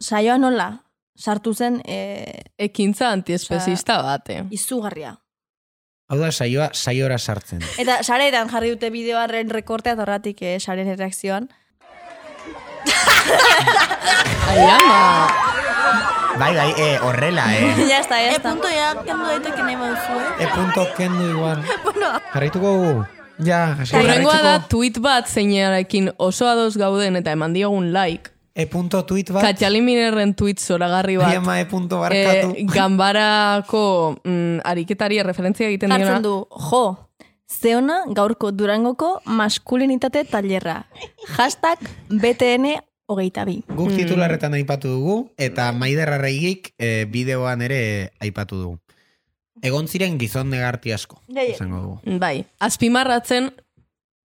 Speaker 1: saioa nola. Sartu zen eh,
Speaker 4: Ekintza antiespezista bate.
Speaker 1: izugarria.
Speaker 3: Hau da, saioa saiora sartzen.
Speaker 1: Eta sareetan jarri dute bideoaren rekortea eta horretik eh, saren erreakzioan.
Speaker 3: Bai, bai, eh, horrela, eh.
Speaker 1: ya está, ya
Speaker 2: está. E punto ya, kendu daiteke nahi baduzu, eh?
Speaker 3: E punto kendu igual.
Speaker 2: bueno,
Speaker 3: Jarraituko gu. Ja, hasi
Speaker 4: Urrengoa da
Speaker 3: jarraituko.
Speaker 4: tweet bat zeinarekin oso ados gauden eta eman diogun like.
Speaker 3: E punto tweet bat.
Speaker 4: Katxalin Minerren tweet zoragarri bat.
Speaker 3: Ai, ama, e punto barkatu.
Speaker 4: gambarako mm, ariketari referentzia egiten diona.
Speaker 1: Jartzen du, jo, zeona gaurko durangoko maskulinitate tailerra. Hashtag BTN hogeita bi.
Speaker 2: Mm.
Speaker 4: Mm.
Speaker 3: Guk titularretan aipatu dugu, eta Maider Arraigik eh, bideoan ere aipatu dugu. Egon ziren gizon negarti asko,
Speaker 4: Bai.
Speaker 3: esango dugu.
Speaker 4: Bai, azpimarratzen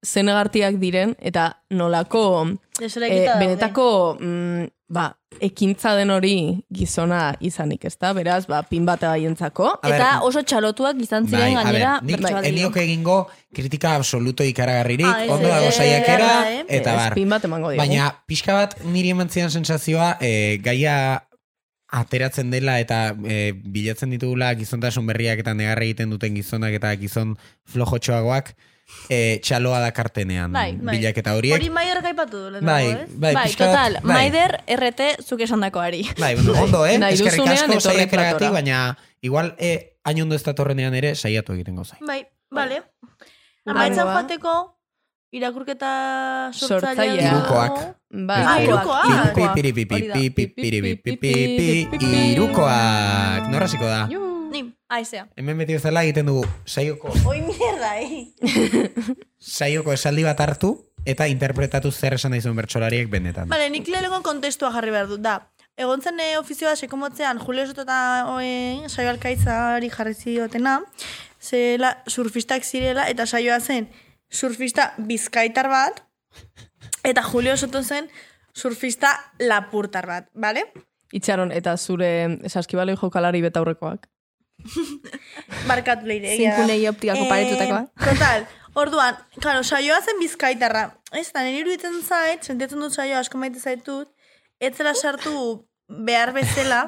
Speaker 4: zenegartiak diren eta nolako eh,
Speaker 2: Desorekita daude.
Speaker 4: benetako mm, ba, ekintza den hori gizona izanik, ezta? Beraz, ba, pin bat baientzako.
Speaker 3: A ber, Eta
Speaker 4: oso txalotuak izan
Speaker 3: Bai, a ber, nik enioke egingo kritika absoluto ikaragarririk,
Speaker 4: Ah, ez,
Speaker 3: ondo dago
Speaker 4: ez,
Speaker 3: saiakera,
Speaker 4: ez, ez,
Speaker 3: eta
Speaker 4: ez,
Speaker 3: bar.
Speaker 4: pin bat emango diogu.
Speaker 3: Baina, pixka bat niri eman zidan sensazioa, eh, gaia ateratzen dela eta eh, bilatzen ditugula gizontasun berriak eta negarra egiten duten gizonak eta gizon flojotxoagoak eh, txaloa dakartenean
Speaker 1: Bai, bai.
Speaker 3: bilaketa horiek.
Speaker 2: hori maior gaipatu du eh? lehenago,
Speaker 3: Bai,
Speaker 2: ez?
Speaker 3: bai,
Speaker 1: Bai,
Speaker 3: pixka bat,
Speaker 1: total,
Speaker 3: bai.
Speaker 1: Maider RT zuk esandakoari.
Speaker 3: Bai, bueno, ondo, eh?
Speaker 1: Nahi
Speaker 3: Eskerrik
Speaker 1: duzunean,
Speaker 3: asko
Speaker 1: etorri
Speaker 3: saiakeragatik,
Speaker 1: platora.
Speaker 3: baina igual eh, hain ondo ez datorrenean ere saiatu egiten gozai.
Speaker 2: Bai, bale.
Speaker 4: Bai.
Speaker 2: Amaitzen
Speaker 4: Hurrengoa.
Speaker 2: joateko irakurketa sortzailea.
Speaker 3: Sortzailea. Hirukoak.
Speaker 2: Bai. Ah, hirukoak.
Speaker 3: Pi, pi, piri, pi, pi, pi, pi, piri, pi, pi, pi, pi, Hirukoak. Nor hasiko da?
Speaker 2: Ni, aizea.
Speaker 3: Hemen beti bezala egiten dugu saioko,
Speaker 2: Oi mierda, eh?
Speaker 3: saioko esaldi bat hartu eta interpretatu zer esan daizun bertsolariek benetan.
Speaker 2: Bale, nik lehenengo kontestua jarri behar dut, da. Egon zen eh, ofizioa sekomotzean Julio Soto eta oen saio alkaitzari jarri ziotena, zela surfistak zirela eta saioa zen surfista bizkaitar bat, eta Julio Soto zen surfista lapurtar bat, bale?
Speaker 4: Itxaron, eta zure saskibaloi jokalari betaurrekoak.
Speaker 2: Barkatu leire.
Speaker 4: Zinkunegi optikako paretutakoa.
Speaker 2: Total, orduan, claro, saioa zen bizkaitarra. Ez da, nire iruditzen zait, sentitzen dut saioa asko maite zaitut, ez zela sartu behar bezala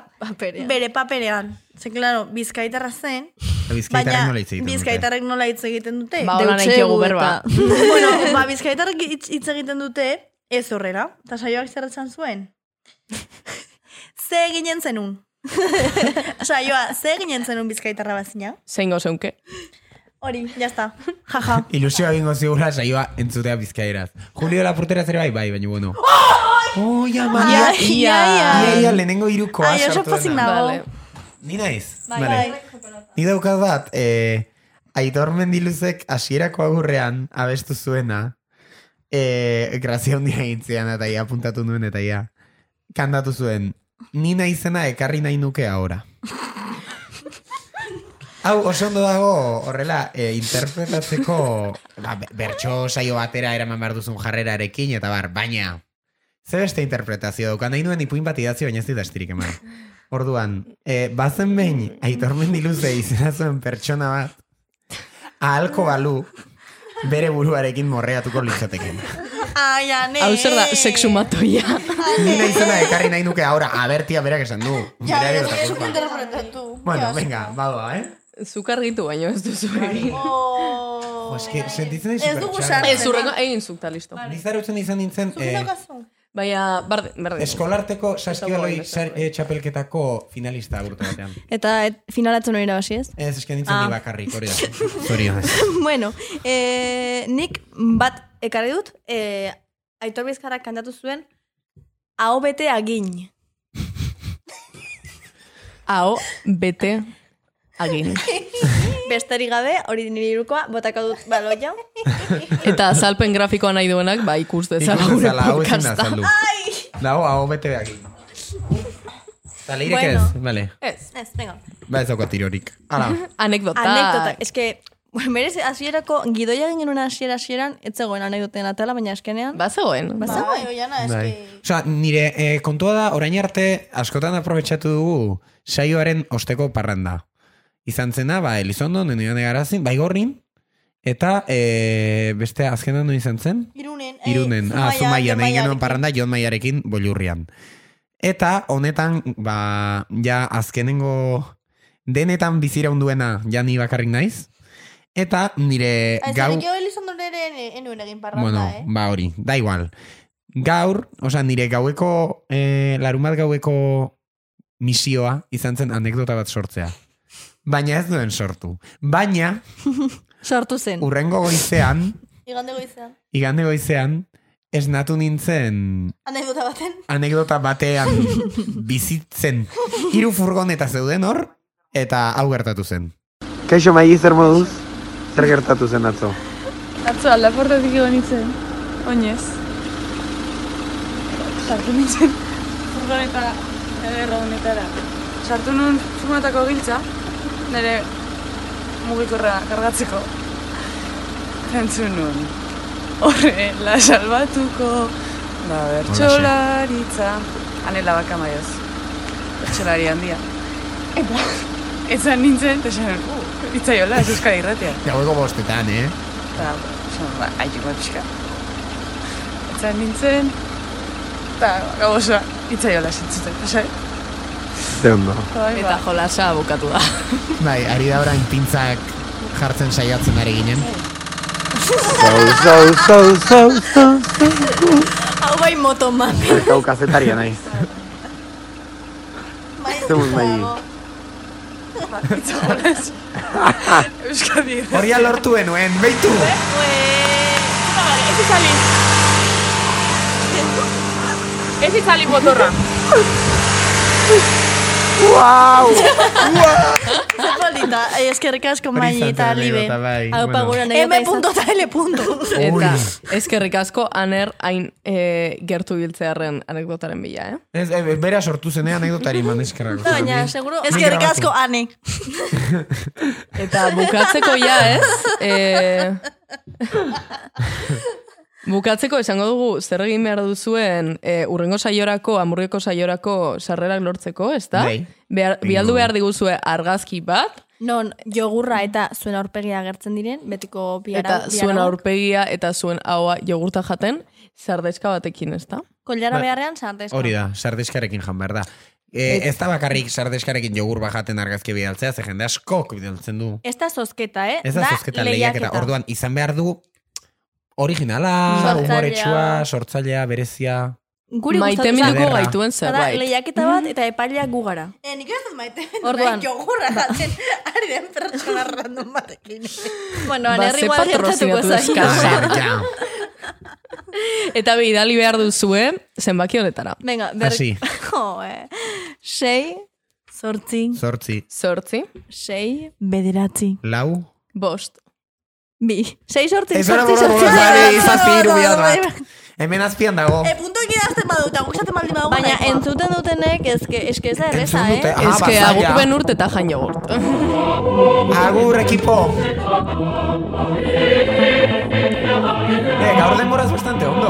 Speaker 2: bere paperean. Ze, claro, bizkaitarra zen,
Speaker 3: Bizkaitarrak nola hitz egiten dute?
Speaker 2: bizkaitarrek nola hitz egiten dute.
Speaker 4: Ba, hola nahi
Speaker 2: Deutsche
Speaker 4: diogu
Speaker 2: gu
Speaker 4: berba.
Speaker 2: eta- bueno, ba, bizkaitarrek hitz hitz egiten dute, ez horrela. Eta saioak zer esan zuen? Ze ginen zenun. Saioa, ze ginen zenun bizkaitarra bazina?
Speaker 4: Zein gozeunke.
Speaker 2: Hori, ya está. Jaja.
Speaker 3: Ilusioa egingo zigula saioa entzutea bizkaieraz. Julio Lapurtera zer bai, bai, baina bueno. Oh, ya, ma.
Speaker 2: Ia, ia,
Speaker 3: Ia,
Speaker 2: ia.
Speaker 3: ia, lehenengo irukoa
Speaker 2: Ai, oso
Speaker 3: sartu dena.
Speaker 2: pozik nago.
Speaker 3: Ni naiz.
Speaker 2: Bai,
Speaker 3: Vale.
Speaker 2: bai.
Speaker 3: Ni daukat bat, eh, Aitor Mendiluzek hasierako agurrean abestu zuena, eh, grazia hundia egin zidan eta ia apuntatu nuen eta ia kantatu zuen, ni naizena ekarri nahi nuke ahora. Hau, oso ondo dago, horrela, eh, interpretatzeko ba, be- bertso saio batera eraman behar duzun jarrerarekin, eta bar, baina, ze beste interpretazio dauka, nahi nuen ipuin bat idatzi, baina ez dit astirik eman. Orduan, eh, bazen behin, aitor mendiluze izena zuen pertsona bat, ahalko balu, bere buruarekin morreatuko litzateken.
Speaker 2: Ai, ane.
Speaker 4: Hau zer da, sexumatoia.
Speaker 3: Ni naizena ekarri nahi nuke ahora, abertia berak esan du.
Speaker 2: Ja,
Speaker 3: Berak
Speaker 2: ez
Speaker 3: ez da
Speaker 2: ez
Speaker 3: kulpa.
Speaker 2: interpretatu.
Speaker 3: Bueno, venga, badoa, eh?
Speaker 4: Zuk argitu baino ez duzu egin.
Speaker 3: Jo, eske, sentitzen daiz
Speaker 4: Ez dugu
Speaker 3: supertxarra.
Speaker 4: Ez urrengo, egin zuk ta listo.
Speaker 3: Nizarautzen izan nintzen, eh,
Speaker 4: Baina, barde, berdin.
Speaker 3: eskolarteko saskibaloi sar- eh, txapelketako finalista urte batean.
Speaker 1: Eta et, finalatzen hori irabazi ez?
Speaker 3: Ez, eske nintzen
Speaker 1: Ah.
Speaker 3: ni bakarrik, hori da. Zorionez.
Speaker 1: bueno, eh, nik bat ekarri dut, eh, Aitor Bizkarrak kantatu zuen, Aho bete agin.
Speaker 4: Hau, bete, agin.
Speaker 1: Besterik gabe, hori nire irukoa, botako dut baloia.
Speaker 4: Eta azalpen grafikoa nahi duenak, ba, ikus dezala
Speaker 3: Ikus
Speaker 4: gure
Speaker 3: dezala, hau ezin da
Speaker 4: podcasta.
Speaker 3: azaldu. Dago, hau bete behar. Zaleirek
Speaker 1: Bueno.
Speaker 3: ez, bale.
Speaker 1: Ez. Ez, venga.
Speaker 3: Ba ez daukat tirorik. Hala.
Speaker 4: Anekdota.
Speaker 1: Anekdota, es que, berez, hasierako gidoia egin genuen hasiera hasieran, ez zegoen anekdoten atala, baina eskenean.
Speaker 4: Bazegoen.
Speaker 1: Bazegoen.
Speaker 3: Bai. Osea, nire eh, kontua da, orain arte askotan aprobetsatu dugu saioaren osteko parranda. Izan zena, ba, Elizondo, nenoan egarazin, baigorrin, bai eta eh, beste azkenan non izan zen?
Speaker 2: Irunen.
Speaker 3: Irunen, ah, Zumaian, egin genuen parranda Jon Maiarekin bolurrian. Eta honetan, ba, ja azkenengo denetan bizira unduena ja ni bakarrik naiz. Eta nire
Speaker 2: Ah,
Speaker 3: gau...
Speaker 2: Aizarekio Elizondoreren eh, enuen egin
Speaker 3: Eh,
Speaker 2: parranda,
Speaker 3: Bueno,
Speaker 2: eh?
Speaker 3: ba hori, da igual. Gaur, oza, nire gaueko, eh, larumat gaueko misioa izan zen anekdota bat sortzea. Baina ez duen sortu. Baina,
Speaker 1: Sortu zen.
Speaker 3: urrengo goizean,
Speaker 2: Igande goizean.
Speaker 3: igande goizean, esnatu nintzen
Speaker 2: Anekdota baten.
Speaker 3: anekdota batean bizitzen. Hiru furgoneta zeuden hor, eta hau gertatu zen.
Speaker 8: Kaixo maiz zer moduz? Zer gertatu zen atzo?
Speaker 18: Atzo aldaportatik egon nintzen, oinez. Sartu nintzen furgoneta ederra honetara. Sartu nun furgonetako giltza, nire mugikorra kargatzeko. Entzun nun. Horre, la salbatuko, da bertxolaritza. Anela baka maioz. Bertxolari handia. Eta, etzan nintzen, eta esan, uh, itzaiola, ez euskara irratia.
Speaker 3: Gaueko bostetan, eh?
Speaker 18: Eta, esan, ba, aiko bat pixka. Etzan nintzen, eta gau osoa, itzaiola zintzuten, pasai.
Speaker 3: Ze ondo.
Speaker 4: Eta jolasa bukatu da.
Speaker 3: Bai, ari da orain pintzak jartzen saiatzen ari ginen.
Speaker 8: Zau, zau, zau, zau, zau.
Speaker 2: Hau bai moto mami.
Speaker 8: Kau kazetaria naiz.
Speaker 2: Bai.
Speaker 8: Zemuz mai.
Speaker 18: Ba, itzaiola, euskadi irratia.
Speaker 3: Horria lortu benuen, beitu!
Speaker 9: Pues, Ez izali. Ez izali motorra.
Speaker 8: Wow!
Speaker 2: Zapaldita, ai, eskerrik asko
Speaker 4: Hori
Speaker 2: mai
Speaker 4: izan
Speaker 2: eta
Speaker 4: zen
Speaker 2: libe.
Speaker 4: anekdota, bai,
Speaker 2: Hau
Speaker 4: bueno.
Speaker 2: pagura
Speaker 4: M punto
Speaker 2: eta L punto.
Speaker 4: Eta ezkerrik asko aner hain e, gertu biltzearen anekdotaren bila, eh?
Speaker 3: Ez, eh, bera sortu zen, eh, anekdotari man eskerrak.
Speaker 2: seguro...
Speaker 3: Nik
Speaker 2: Eskerrik
Speaker 3: grabatu.
Speaker 2: asko ane.
Speaker 4: Eta bukatzeko ja, ez? E, bukatzeko esango dugu zer egin behar duzuen e, urrengo saiorako, amurreko saiorako sarrerak lortzeko, ez da?
Speaker 1: Bai.
Speaker 4: Behar, bialdu behar diguzue argazki bat,
Speaker 1: Non, jogurra eta zuen aurpegia agertzen diren, betiko biara,
Speaker 4: eta zuen aurpegia eta zuen haua jogurta jaten, sardeska batekin, ez da?
Speaker 1: Kollara
Speaker 3: Ba-
Speaker 1: beharrean sartezka.
Speaker 3: Hori da, sardeskarekin jan behar da. E, ez da bakarrik sardeskarekin jogur bajaten argazki bidaltzea, ze jende askok bidaltzen du.
Speaker 1: Ez da zozketa, eh?
Speaker 3: Ez da zozketa lehiaketa. Orduan, izan behar du originala,
Speaker 1: Sortzailea.
Speaker 3: humoretsua, sortzailea, berezia.
Speaker 1: Guri
Speaker 4: Maite
Speaker 1: gustatu zait.
Speaker 4: minduko gaituen
Speaker 1: Bada,
Speaker 4: zerbait.
Speaker 1: lehiaketa bat eta epailea gu gara.
Speaker 2: Eh, nik ez dut maite.
Speaker 1: Orduan.
Speaker 2: Orduan. Jogurra daten, ari den pertsona random batekin.
Speaker 1: Bueno,
Speaker 4: Ba, ze patrozinatu eskasak. Eta bidali behar duzue, zenbaki honetara.
Speaker 1: Venga,
Speaker 3: Hasi.
Speaker 1: Jo, eh. Sei, sortzi,
Speaker 3: Zortzi,
Speaker 4: sortzi,
Speaker 1: sei, bederatzi,
Speaker 3: lau,
Speaker 4: bost,
Speaker 1: bi. Sei sortzi,
Speaker 3: Ez ora
Speaker 1: sortzi,
Speaker 3: bora
Speaker 1: sortzi.
Speaker 3: bora zari, zazpi hiru bihar bat. Hemen azpian dago.
Speaker 1: E, punto egidazten baduta, gustatzen baldin badugu. Baina entzuten dutenek, eske, eske ez da erreza,
Speaker 3: Entzun dute,
Speaker 1: eh?
Speaker 3: ah,
Speaker 4: Eske
Speaker 3: bazaia.
Speaker 4: agur ben urte eta jain jogurt.
Speaker 3: Agur, ekipo! Eh, gaur denboraz bastante, ondo.